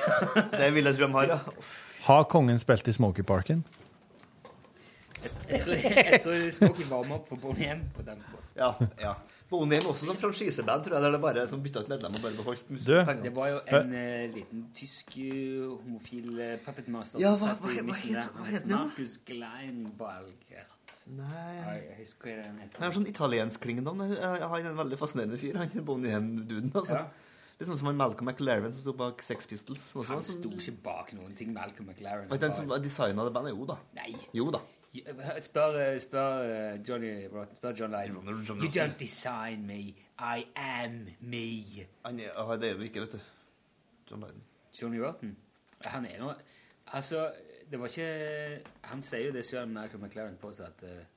S14: Det vil jeg tro de har, ja.
S3: Har kongen spilt i Smokeyparken?
S2: Jeg tror, jeg tror Smokie varmer opp for Bonhjem på dansebåten.
S14: Ja, ja. Bonheim også som franchiseband, tror jeg. Der det bare er som bytta ut medlem og bare beholdt mus-
S3: Du.
S14: pengene.
S2: Det var jo en eh, liten tysk eh, homofil eh, puppetmaster
S14: Ja, hva-
S2: som satt
S14: hva-
S2: i
S14: hva
S2: midten
S14: het-
S2: der.
S14: hva
S2: Han
S14: het
S2: het
S14: den, da?
S2: Markus Gleinbalgert.
S14: Nei
S2: Jeg husker hva den heter.
S14: Han er sånn italiensklingende navn. Jeg har en veldig fascinerende fyr, han er Bonheim-duden. altså.
S2: Ja.
S14: Litt sånn som han Malcolm McLaren som sto bak Sex Pistols. Også.
S2: Han sto ikke bak noen ting. Malcolm McLaren.
S14: Var ikke den som designa det bandet? Jo da.
S2: Nei.
S14: Jo da.
S2: Spør, eh, spør eh, Johnny Rotten, spør John Lydon. You don't design me, I am me.
S14: Han er, ah, det er det ikke, vet du. John Lydon.
S2: Johnny Rotten, han er nå Altså, det var ikke Han sier jo det selv Malcolm McLaren påstår, at eh,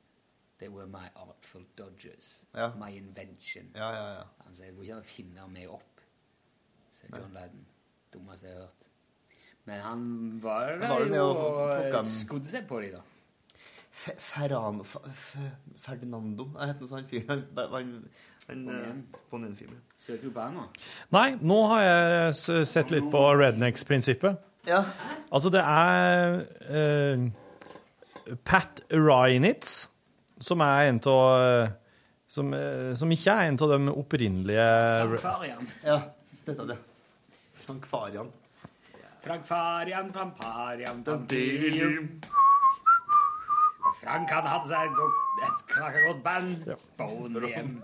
S2: They were my artful dodgers.
S14: Ja.
S2: My invention.
S14: Ja, ja, ja.
S2: Han sier det går ikke an å finne meg opp, sier John Lydon. Dummeste jeg har hørt. Men han var
S14: Han
S2: der
S14: var jo med
S2: jo
S14: og plukket
S2: og
S14: dem.
S2: skodde seg på dem, da.
S14: Fe- Ferrano Fe- Fe- Ferdinando Jeg heter noe sånn fyr Han, han, han
S2: Bonham.
S14: eh, Bonham-fyr
S2: Søker du på ham, da?
S3: Nei, nå har jeg s- sett litt på rednecks-prinsippet.
S14: Ja.
S3: Altså, det er eh, Pat Reinitz, som er en av som, eh, som ikke er en av de opprinnelige
S2: Farian.
S14: Ja, dette er det Frank Farian
S2: Frank Farian, Frank Farian, Frank Farian. Frank han hadde seg et godt- et knakkegodt band. Bonhjem.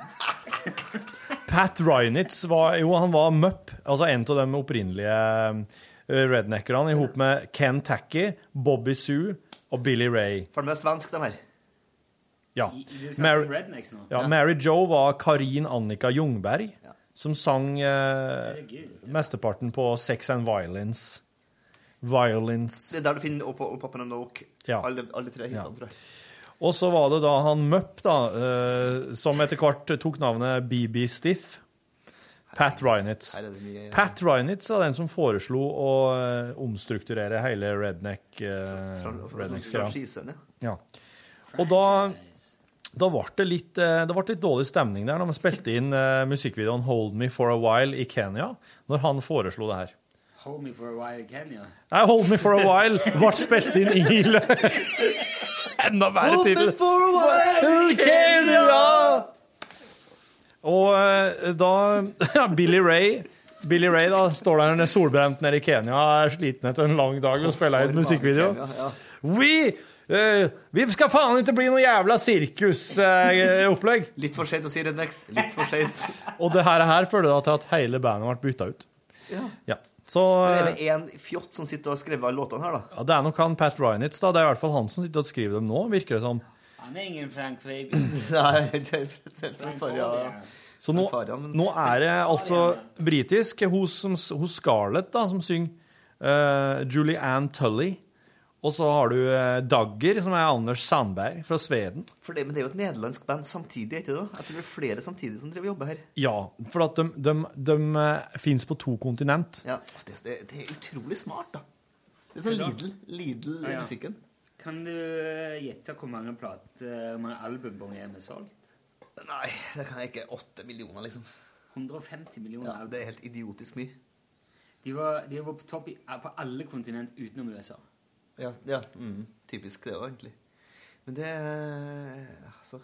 S3: Pat Reinitz var jo han var mupp, altså en av de opprinnelige eh, redneckerne, i hop med Ken Tacky, Bobby Sue og Billy Ray.
S14: For de er svensk de her
S3: Ja.
S2: Du snakker
S3: Mary,
S2: om rednecks nå.
S3: ja, Mary Joe var Karin Annika Ljungberg, som sang eh, mesteparten på Sex and Violence. Violence.
S14: Det er der du finner Opp opp opp en oak
S3: Ja.
S14: alle, alle tre hitene, tror jeg
S3: Og så var det da han Mupp, da, eh, som etter hvert tok navnet BB Stiff. Pat Reinitz.
S14: Her er det mye
S3: Pat Reinitz var den som foreslo å eh, omstrukturere hele redneck, eh,
S14: fra- fra-
S3: redneck-greia.
S14: franchisen, ja.
S3: ja. Og da, da ble det litt, eh, det ble litt dårlig stemning der når vi spilte inn eh, musikkvideoen 'Hold Me For A While' i Kenya, når han foreslo det her.
S2: Hold me for a while, Kenya.
S3: Nei, 'Hold Me For A While' ble spilt inn i lø- Enda verre tittel!
S14: for a while
S3: Kenya! Og eh, da ja, Billy Ray Billy Ray da står der nede solbrent nede i Kenya er sliten etter en lang dag og spiller i et musikkvideo. We, eh, vi skal faen ikke bli noe jævla sirkusopplegg.
S14: Litt for sent å si Rednex Litt for sent
S3: og det her, her føler jeg til at hele bandet ble bytta ut.
S14: Ja
S3: Ja. Så
S14: Men er
S3: eh,
S14: det en fjott som sitter og har skrevet alle låtene her da?
S3: ja, det er nok han Pat Reinitz, da. Det er i hvert fall han som sitter og skriver dem nå, virker det som.
S2: Han er ingen Frank Fabi.
S14: Nei, det er, det er Frank Farian
S3: Så nå, nå er det altså britisk. Hun, som, hun Scarlett, da, som synger eh, Julie Ann Tully. Og så har du eh, Dagger, som er Anders Sandberg fra Sveden.
S14: For det, men det er jo et nederlandsk band samtidig, ikke det? Jeg tror det er flere samtidig som driver og jobber her.
S3: Ja, for at de, de, de eh, fins på to kontinent.
S14: Ja, åh, det, det, det er utrolig smart, da. Det er sånn Lidl, Lidl i
S2: Ja, ja.
S14: musikken.
S2: Kan du eh, gjette hvor mange plater, hvor mange album Bonhjem er solgt?
S14: Nei, det kan jeg ikke. Åtte millioner, liksom.
S2: 150 millioner
S14: Ja, det er helt idiotisk mye.
S2: De var, de var på topp i, eh, på alle kontinent utenom USA.
S14: Ja, ja mm, typisk det òg, egentlig. Men det er- altså,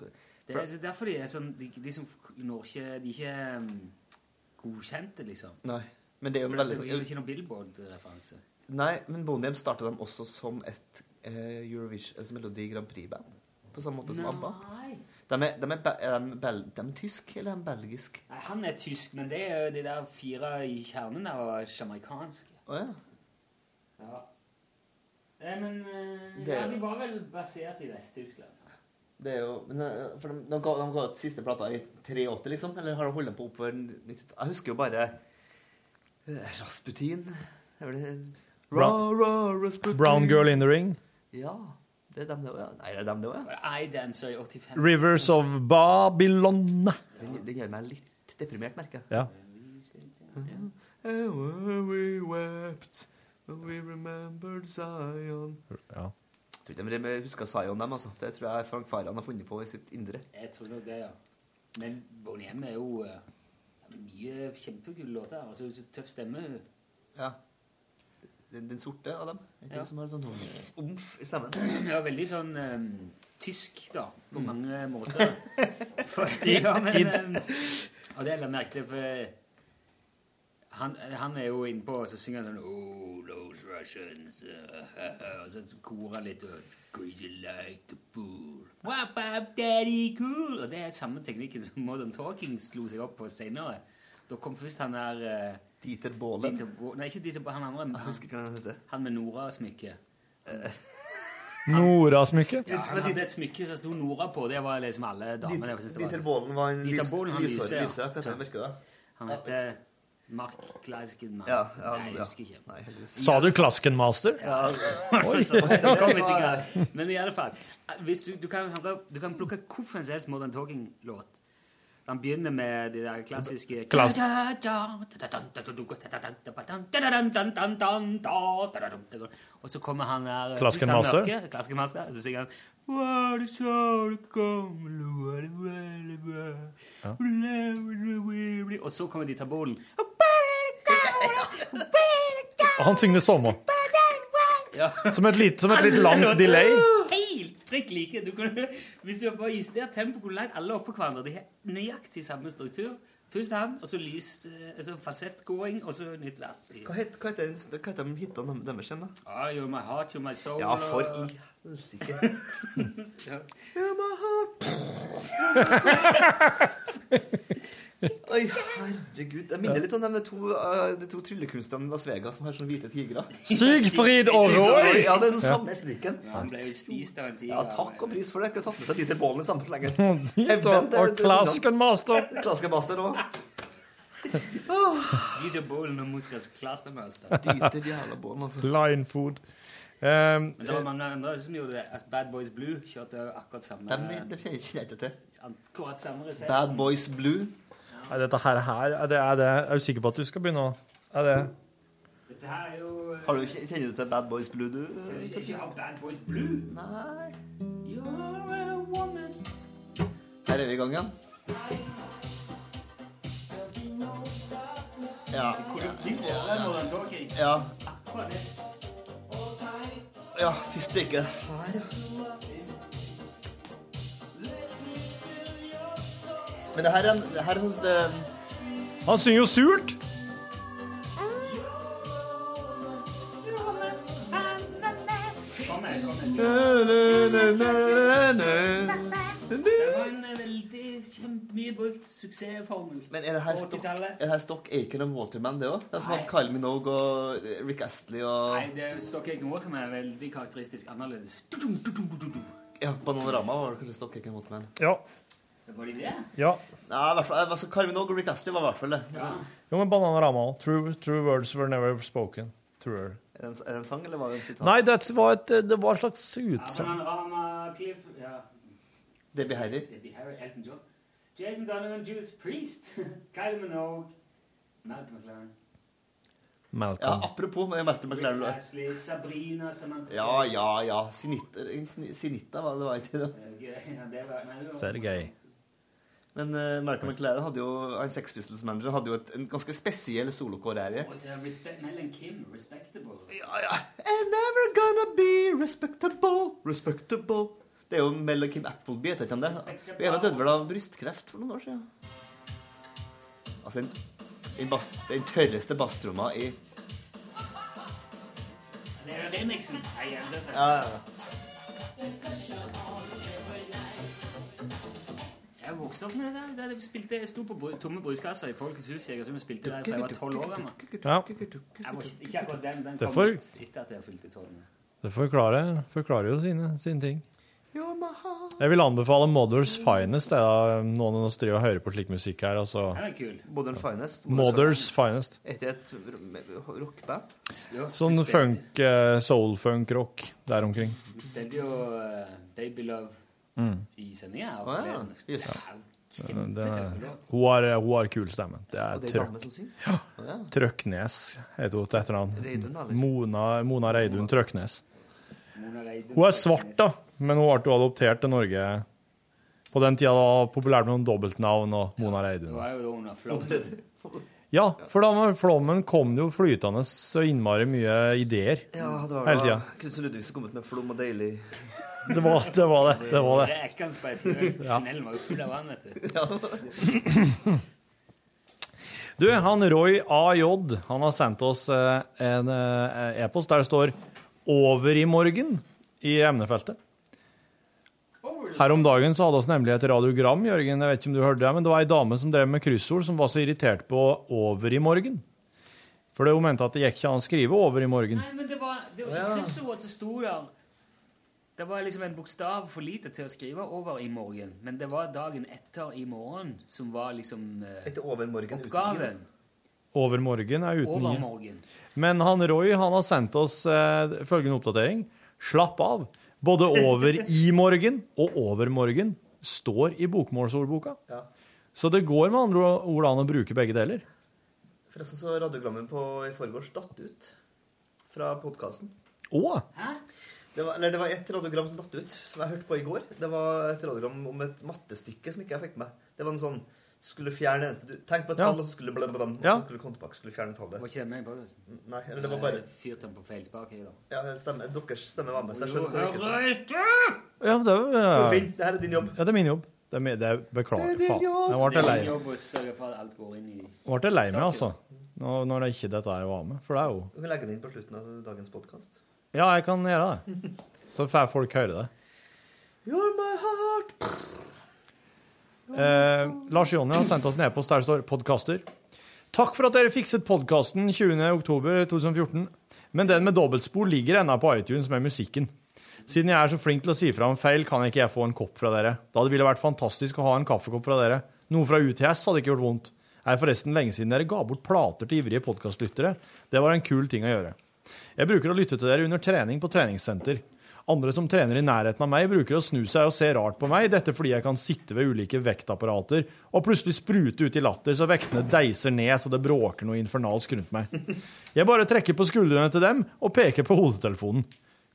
S2: Det er så derfor de er sånn De, de som når ikke De er ikke um, godkjente, liksom.
S14: Nei. Men det er jo
S2: For
S14: veldig
S2: det blir jo
S14: sånn
S2: ikke noen Billboard-referanse.
S14: Nei, men Bondehjem starta dem også som et eh, Eurovision, altså Melodi Grand Prix-band. På samme måte som ABBA.
S2: Nei.
S14: De er, de er, be- er de bel, de er tysk, eller er de belgisk?
S2: Nei, han er tysk, men det er jo de der fire i kjernen der var jamaicanske.
S14: Å ja.
S2: Ja. Eh, men eh,
S14: Det er-
S2: ja, de var vel basert i Vest-Tyskland.
S14: Det er jo men, eh, For de, de, ga, de ga ut siste plata i 83, liksom? Eller har de holdt den på oppover 90 Jeg husker jo bare eh, Rasputin. Det er vel det- Ra, ra, Rasputin.
S3: Brown Girl in the Ring.
S14: Ja. Det er dem, det òg, ja. Nei, det er dem, det òg, ja.
S2: I Dancer i 85.
S3: Rivers of Babylon.
S14: Den, den gjør meg litt deprimert, merker jeg.
S3: Ja.
S14: And when we wept, when we remembered Zion
S3: Ja.
S14: Jeg tror ikke de husker Zion, dem, altså. Det tror jeg Frank Farhan har funnet på i sitt indre.
S2: Jeg tror nok det, ja. Men Boniem er jo eh, mye kjempekule låter. Altså, hun har så tøff stemme. hun.
S14: Ja. Den, den sorte av dem. Er ikke
S2: Ja.
S14: det som har sånn omf i stemmen?
S2: Ja, veldig sånn eh, tysk, da, på mange måter. For,
S14: Mm. I-
S2: ja, men,
S14: i-
S2: eh, og det la jeg merke til, for eh, han, han er jo innpå, og så synger han sånn Oh, those Russians eh, Og så korer han litt og Could you like a fool? Wap up daddy cool? Og det er samme teknikken som Modern Talking slo seg opp på senere. Da kom først han der eh,
S14: Dieter Bohlen.
S2: Dieter Bo- Nei, ikke Dieter Bohlen, han andre.
S14: Jeg husker ikke hva han heter.
S2: Han med Nora-smykket.
S3: Nora-smykke.
S2: Ja, han hadde et smykke som sto Nora på. Det var liksom alle damene. jeg synes det var
S14: Dieter
S2: sånn.
S14: Bohlen var en
S2: Dieter
S14: lys-
S2: Bohlen, han
S14: lyshåret
S2: lyser, ja.
S14: lyser, akkurat det jeg merker da.
S2: Han heter Mark Gleisken
S14: Ja, ja,
S2: Nei, jeg
S14: ja.
S2: husker ikke.
S14: Nei, heldigvis.
S3: Sa du Klaskenmaster? Oi.
S2: Så, det kom ikke engang. Men i alle fall hvis du, du, kan, høre- du kan plukke hvilken som helst Modern Talking-låt. Han begynner med de der klassiske
S3: Klass-
S2: Og så kommer han der
S3: Klaskenmaster?
S2: hvis han er mørke, Klaskenmaster. Så synger han Var det så det kom, lo, var det veldig bra. Og så kommer de til bolen.
S3: Han synger det samme.
S2: Ja.
S3: Som et lite, som et litt langt delay.
S2: Helt prikk like. Du kan, hvis du er på justert tempo, hvor langt alle er oppå hverandre De har nøyaktig samme struktur. Først han, og så lys, eh, altså falsettgåing, og så nytt vers. i-
S14: Hva het- hva heter hva heter de hitene dem- deres igjen, da?
S2: Ah, you're my heart, you're my soul.
S14: Ja, for
S2: og-
S14: i helsike.
S2: Ja.
S14: Oi, herregud. Jeg minner litt om de to, eh, de to tryllekunstnerne i Las Vegas som har sånne hvite tigre.
S3: Sigfrid og Roy!
S14: Ja, det er den
S3: Ja.
S14: samme strikken.
S2: Ja, Han ble jo spist av en tiger.
S14: Ja, takk og pris for det. Jeg kunne tatt med seg Dieter Bohlen i samme slengen.
S3: Og og Klaskenmaster.
S14: Klaskenmaster òg.
S2: Dieter Bohlen og Muskas Klastermeister.
S14: Dieter jævla Bohlen, altså.
S3: Linefood. Um,
S2: Men det var mange andre som gjorde det. Altså, Bad Boys Blue kjørte jo akkurat samme
S14: De, de kjenner ikke dette til.
S2: Akkurat samme resept.
S14: Bad Boys Blue.
S3: Nei, dette her, her er, det, er, det, er du sikker på at du skal begynne å Er det
S2: Dette her er jo eh,
S14: Har du, kjenner du til Bad Boys Blue, du?
S2: Skal vi ikke ha Bad Boys Blue?
S14: Nei.
S2: You're a woman.
S14: Her er vi i gang igjen. Ja. Ja. Ja, fy stikke. Men det her er en det her er sånn som det,
S3: Han synger jo surt!
S2: Kom her, kom her. Det var en eh, veldig kjempemye brukt suksessformel.
S14: Men er det her
S2: På
S14: stokk,
S2: 80-tallet.
S14: er det her stokk Aiken og Waterman, det òg? Det er som
S2: Nei.
S14: at Kyle Minogue og eh, Rick Astley og
S2: Nei, det er Stock Aiken Waterman er veldig karakteristisk annerledes.
S14: ja, Panorama var det kanskje stokk Aiken og Waterman.
S3: Ja.
S2: Var de det?
S3: ja.
S14: Nei, i hvert fall, altså, Kyle Minogue og Rick Astley var i hvert fall det.
S2: Ja.
S3: Jo, men Bananarama òg. True, true words were never spoken. True.
S14: Er, det en, er det en sang, eller var det en sitat?
S3: Nei, det var et, det var et slags utsagn.
S2: Panorama, uh, Cliff ja.
S14: Debbie Harry.
S2: Debbie Harry, Elton John. Jason Donovan, Judas Priest. Kyle Minogue. Malcolm McLaren.
S14: Ja,
S3: Malcolm.
S14: apropos men jeg merker McLaren.
S2: Rick
S14: lå-
S2: Ashley, Sabrina Samantha.
S14: Ja, ja, ja. Sinitta, Sinitta var det var ikke det.
S2: Eh, Ja, det var, nei, det var-
S3: Sergej.
S14: Men uh, Malcolm McLaren hadde jo, han Sex Pistols-manager hadde jo et, en ganske spesiell solokarriere.
S2: Og så er Respect, Mel and Kim, Respectable.
S14: Ja, ja. And never gonna be respectable, respectable. Det er jo Mel og Kim Appleby, heter ikke han det? Hun ene døde vel av brystkreft for noen år siden. Altså, den, den, bass, den tørreste basstromma i
S2: Det er remixen. Nei, jeg vet det.
S14: Ja, ja, ja.
S2: Jeg vokste opp med det der. Det- det spilte, jeg sto på bru- tomme bruskasser i Folkets hus i Egersund og spilte der fra jeg var tolv år gammel.
S3: Ja.
S2: Jeg var ikke, ikke akkurat den. Den kom
S3: Derfor-
S2: ut etter at jeg fylte tolv.
S3: Det forklarer, forklarer jo sine, sine ting.
S2: You're my heart.
S3: Jeg vil anbefale Mother's Finest. Det er da noen av oss driver og hører på slik musikk her. Altså.
S2: Den er kul.
S14: Modern Finest.
S3: Mother's Finest.
S14: Er ikke et r- rockeband?
S3: Sånn funk, eh, soul-funk-rock der omkring.
S2: Vi spilte jo eh, Baby Love
S3: Mm.
S2: i sendinga. her
S14: Å, ja.
S2: forleden.
S14: Yes.
S2: Det er jo
S3: Den- den er-
S2: kjempetøff låt.
S3: Hun har, eh, hun har kul stemme. Det er
S14: Og det er dame som
S3: Trøk...
S14: synger?
S3: Ja.
S14: Å, ja.
S3: Trøknes heter hun til etternavn.
S14: Reidun, eller?
S3: Mona, Mona Reidun Trøknes.
S2: Mona Reidun.
S3: Hun er svart, da, men hun ble jo adoptert til Norge på den tida. da Populært med noen dobbeltnavn og Mona Reidun.
S2: Hun var jo da under flommen.
S3: Ja, for da med flommen kom det jo flytende så innmari mye ideer
S14: Ja, det
S3: hele
S14: var vel da
S3: tida.
S14: Knutsen Ludvigsen kom ut med Flom og deilig.
S3: Det var det. var det, det, var det.
S2: Rekanspeilet. Tunnelen var jo full av vann, vet du.
S3: Du, han Roy AJ han har sendt oss eh, en eh, e-post der det står 'Over i morgen' i emnefeltet. Her om dagen så hadde oss nemlig et radiogram, Jørgen, jeg vet ikke om du hørte det, men det var ei dame som drev med kryssord som var så irritert på 'over i morgen'. For det hun mente at det gikk ikke an å skrive 'over i morgen'.
S2: Nei, men det var, det var
S3: Ja.
S2: kryssordet som sto der. Det var liksom en bokstav for lite til å skrive over i morgen. Men det var dagen etter i morgen som var liksom eh, oppgaven.
S3: Over morgen er uten
S2: Over
S3: i.
S2: morgen.
S3: Men han Roy han har sendt oss eh, følgende oppdatering. Slapp av. Både over i morgen og over morgen står i bokmålsordboka.
S14: Ja.
S3: Så det går med andre ord an å bruke begge deler.
S14: Forresten så radiogrammen på i forgårs datt ut fra podkasten.
S3: Å!
S14: Det var, eller det var et radiogram som datt ut, som jeg hørte på i går. Det var et radiogram om et mattestykke som ikke jeg fikk med. Det var en sånn skulle fjerne eneste du, Tenk på et
S2: Ja.
S14: tall, og så skulle blam, blam, blam, og
S2: Ja.
S14: så skulle du komme tilbake skulle fjerne tallet.
S2: Var ikke det med i podkasten?
S14: Nei, eller det var bare
S2: Fyrt den på feil spak i dag.
S14: Ja, stemme, deres stemme var med, så jeg
S2: Jo,
S14: skjønner hvor
S2: hør
S14: ikke
S2: etter!
S3: Ja, det, er-
S14: Torfinn, det her er din jobb.
S3: Ja, det er min jobb. Det er, min, det er beklager,
S14: Det er din
S3: faen.
S14: jobb.
S3: Jeg ble
S2: Det er
S3: lei,
S2: din jobb å sørge for at alt går inn i
S3: jeg ble lei meg, altså. Når, når det ikke dette her var med. For det er jo
S14: Du kan legge det inn på slutten av dagens podkast.
S3: Ja, jeg kan gjøre det. Så får folk høre det.
S14: You're my heart.
S3: Eh, Lars Jonny har sendt oss en e-post der det står 'podkaster'. Takk for at dere fikset podkasten 20.10.2014, men den med dobbeltspor ligger ennå på iTunes med musikken. Siden jeg er så flink til å si fra om feil, kan ikke jeg få en kopp fra dere. Da det ville vært fantastisk å ha en kaffekopp fra dere. Noe fra UTS hadde ikke gjort vondt. Det er forresten lenge siden dere ga bort plater til ivrige podkastlyttere. Det var en kul ting å gjøre. Jeg bruker å lytte til dere under trening på treningssenter. Andre som trener i nærheten av meg, bruker å snu seg og se rart på meg, dette fordi jeg kan sitte ved ulike vektapparater og plutselig sprute ut i latter så vektene deiser ned så det bråker noe infernalsk rundt meg. Jeg bare trekker på skuldrene til dem og peker på hodetelefonen.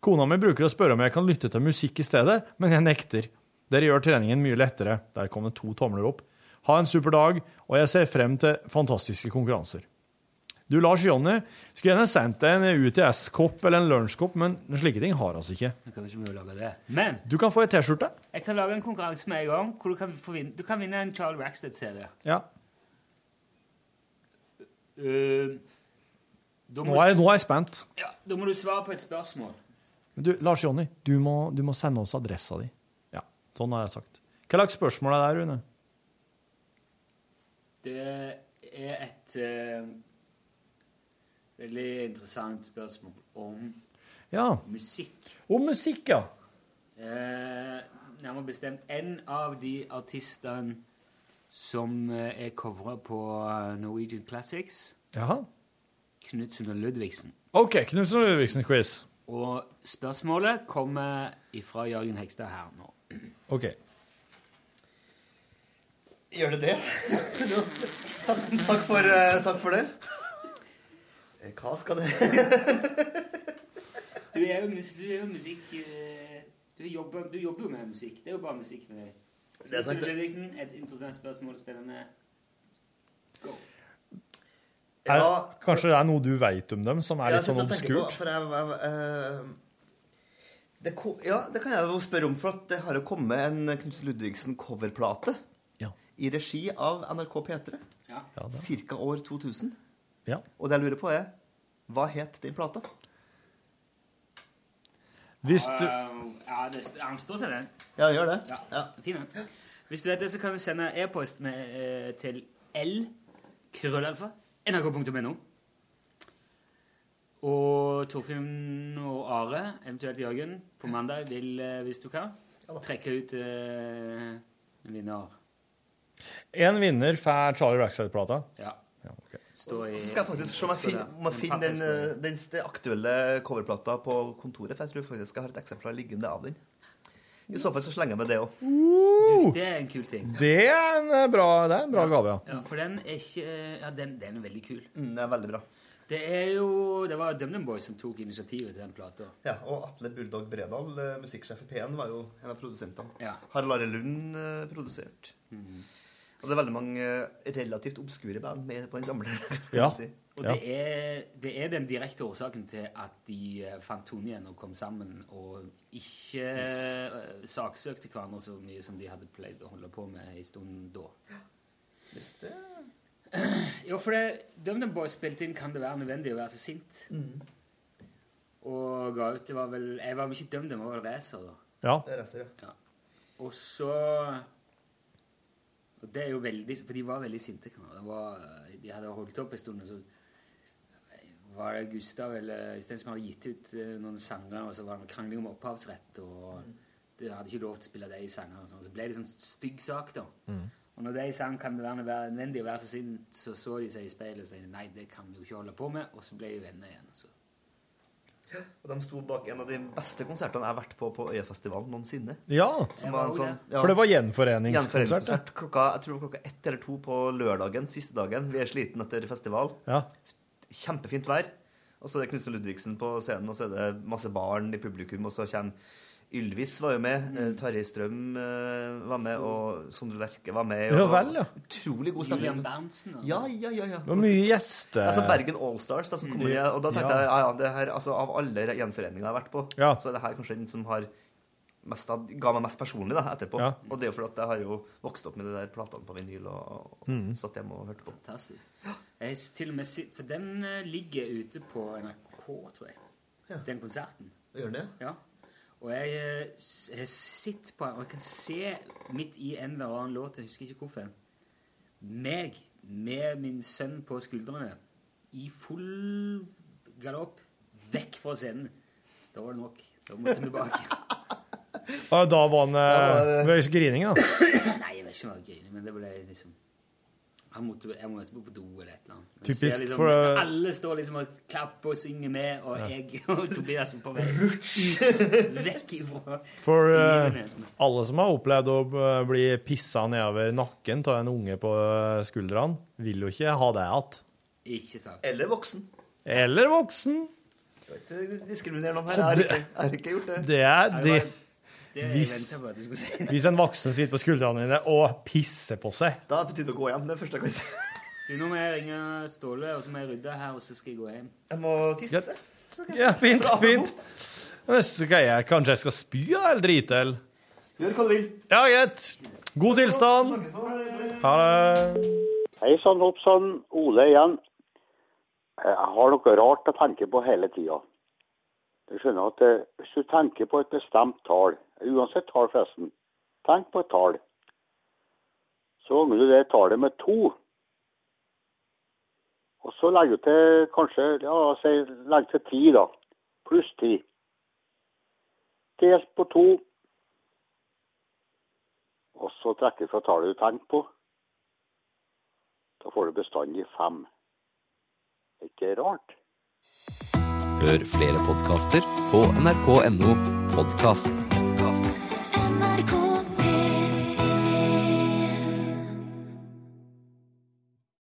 S3: Kona mi bruker å spørre om jeg kan lytte til musikk i stedet, men jeg nekter. Dere gjør treningen mye lettere. Der kom det to tomler opp. Ha en super dag, og jeg ser frem til fantastiske konkurranser. Du, Lars Jonny, skulle gjerne sendt deg en UTS-kopp eller en lunsjkopp, men slike ting har altså ikke.
S2: Jeg kan ikke mye å lage det. Men
S3: Du kan få ei T-skjorte.
S2: jeg kan lage en konkurranse med en gang hvor du kan, få vinne, du kan vinne en Charlie Rackstead-CD.
S3: Ja.
S2: Eh, da må
S3: Nå er,
S2: du-
S3: nå er jeg spent.
S2: Ja, da må du svare på et spørsmål.
S3: Men du, Lars Jonny, du, må- du må sende oss adressa di. Ja, sånn har jeg sagt. Hva slags spørsmål er det, Rune?
S2: Det er et eh, veldig interessant spørsmål om
S3: Ja.
S2: musikk.
S3: Om musikk, ja.
S2: Eh, nærmere bestemt en av de artistene som eh, er covra på eh, Norwegian Classics.
S3: Jaha.
S2: Knutsen og Ludvigsen.
S3: OK, Knutsen og Ludvigsen-quiz.
S2: Og spørsmålet kommer ifra Jørgen Hekstad her nå.
S3: OK.
S14: Gjør det det? takk, for, eh, takk for det. Eh, Hva skal det
S2: Du er jo, mus du er jo musikk... eh, Du jobber, du jobber jo med musikk. Det er jo bare musikk med deg.
S14: Det er sant,
S2: Knutsen og
S14: det.
S2: Ludvigsen, liksom et interessant spørsmål. Spennende.
S3: Er, kanskje det er noe du veit om dem som er
S14: Ja,
S3: litt sånn
S14: jeg sitter og tenker på,
S3: obskurt?
S14: For jeg, jeg, jeg, Det ko ja, det kan jeg jo spørre om, for at det har jo kommet en Knutsen Ludvigsen-coverplate i regi av NRK P3
S3: Ja, da.
S14: ca. år 2000.
S3: Ja.
S14: Og det jeg lurer på, er hva het den plata?
S3: Hvis
S2: du Ja, det, han står seg den.
S14: Ja, gjør det.
S2: Ja, Fin den. Hvis du vet det, så kan du sende e-post med, eh, til l.krøllalfa.nrk.no. Og Torfinn og Are, eventuelt Jørgen, på mandag vil, eh, hvis du kan, trekke ut eh, en vinner.
S3: En vinner får Charlie Rackside-plata.
S2: Ja. Stå i
S14: Så skal jeg faktisk se om jeg finner, om jeg finner den, eh, den, den aktuelle coverplata på kontoret, for jeg tror faktisk jeg har et eksemplar liggende av den. I så fall så slenger jeg med det òg.
S2: Du, Det er en kul ting.
S3: Det er en eh, bra, det er en bra gave, ja.
S2: Ja, for den er ikke Ja, den, den er veldig kul.
S14: Den Mm, er veldig bra.
S2: Det er jo Det var DumDum Boys som tok initiativet til den plata.
S14: Ja, og Atle Bulldog Bredal, eh, musikksjef i P1, var jo en av produsentene.
S2: Ja.
S14: Harald Are Lund eh, produsert. Og det er veldig mange eh, relativt obskure band med på den samleren. kan
S3: Ja.
S14: man si.
S2: Og det er, det er den direkte årsaken til at de eh, fant tonen igjen og kom sammen, og ikke eh, saksøkte hverandre så mye som de hadde pleid å holde på med en stund da.
S14: Hvis det
S2: Jo, for det- DumDum Boys spilte inn 'Kan det være nødvendig å være så sint?' Og ga ut Det var vel Jeg var vel ikke DumDum, jeg var vel Racer, da.
S3: Ja.
S14: Det reser, ja.
S2: Og så og det er jo veldig, For de var veldig sinte. kan man- Det var, de hadde holdt opp en stund, og så var det Gustav eller Øystein som hadde gitt ut eh, noen sanger, og så var det noen krangling om opphavsrett, og de hadde ikke lov til å spille de sangene. og sånn. Så ble det sånn stygg sak, da. Og når de sang 'Kan det være nødvendig å være så sint', så så de seg i speilet og sa 'Nei, det kan vi jo ikke holde på med', og så ble de venner igjen. og Så.
S14: Og de sto bak en av de beste konsertene jeg har vært på på Øyafestivalen noensinne.
S3: Ja,
S14: Som var en sånn, ja.
S3: For det var gjenforeningskonsert. ja.
S14: Gjenforeningskonsert. Klokka, jeg tror klokka ett eller to på lørdagen, siste dagen. Vi er sliten etter festival.
S3: Ja.
S14: Kjempefint vær. Og så er det Knutsen Ludvigsen på scenen, og så er det masse barn i publikum, og så kommer Ylvis var jo med,
S3: Mm.
S14: eh, Tarjei Strøm eh, var med, og Sondre Lerche var med. Og
S3: Ja vel, ja.
S14: Utrolig god
S2: Julian
S14: stemning.
S2: Berntsen og
S14: Ja, ja, ja, ja.
S3: Det var mye gjester.
S14: Altså Bergen Allstars, da, som kommer
S3: Mm.
S14: igjen, og da tenkte
S3: Ja.
S14: jeg ja, ja, det her, altså, av alle gjenforeninger jeg har vært på, så er det her kanskje den som har mest, av- ga meg mest personlig da, etterpå.
S3: Ja.
S14: Og det er jo fordi at jeg har jo vokst opp med de der platene på vinyl og, og
S3: Mm.
S14: satt hjemme og hørte på.
S2: Fantastisk. Jeg s- til og med si- For den eh, ligger ute på NRK, tror jeg. Den konserten.
S14: Gjør den det?
S2: Ja. Og jeg eh, s- jeg sitter på den, og jeg kan se midt i en eller annen låt, jeg husker ikke hvorfor, meg med min sønn på skuldrene i full galopp vekk fra scenen. Da var det nok. Da måtte vi tilbake.
S3: Ja, Da var han
S2: Da
S3: eh,
S2: var
S3: ved grining, da.
S2: Nei, jeg vet ikke om det var gøy, men det ble liksom han måtte, Jeg må nesten bo på do eller et eller annet. Du
S3: Typisk
S2: ser liksom,
S3: for, eh,
S2: Alle står liksom og klapper og synger med, og
S3: Ja.
S2: jeg og Tobias er på vei ut, vekk ifra
S3: For eh,
S2: livenheten.
S3: alle som har opplevd å eh, bli pissa nedover nakken av en unge på eh, skuldrene, vil jo ikke ha det igjen.
S2: Ikke sant.
S14: Eller voksen.
S3: Eller voksen.
S14: Skal ikke diskriminere noen her. Jeg har
S3: Det-
S14: ikke, jeg har ikke gjort det.
S3: Det er det.
S14: det jeg
S3: Hvis,
S14: ventet på at du skulle si.
S3: hvis en voksen sitter på skuldrene dine og pisser på seg
S14: Da er det på tide å gå hjem. Det er det første jeg kan si.
S2: Du, nå må jeg ringe Ståle, og så må jeg rydde her, og så skal jeg gå hjem.
S14: Jeg må tisse.
S3: Ja, fint. fint. Neste skal jeg kanskje jeg skal spy ja, eller drite eller
S14: Gjør hva du vil.
S3: Ja, greit. God tilstand. Ha det.
S15: Hei sann, hopp sann. Ole igjen. Eh, Jeg har noe rart å tenke på hele tida. Du skjønner at eh, hvis du tenker på et bestemt tall, uansett tall forresten, tenk på et tall, så ganger du det tallet med to. Og så legger du til kanskje ja, si, legg til ti, da. Pluss ti. Delt på to. Og så trekker du fra tallet du tenker på. Da får du bestandig fem. Er ikke rart?
S16: Hør flere podkaster på nrk.no podkast.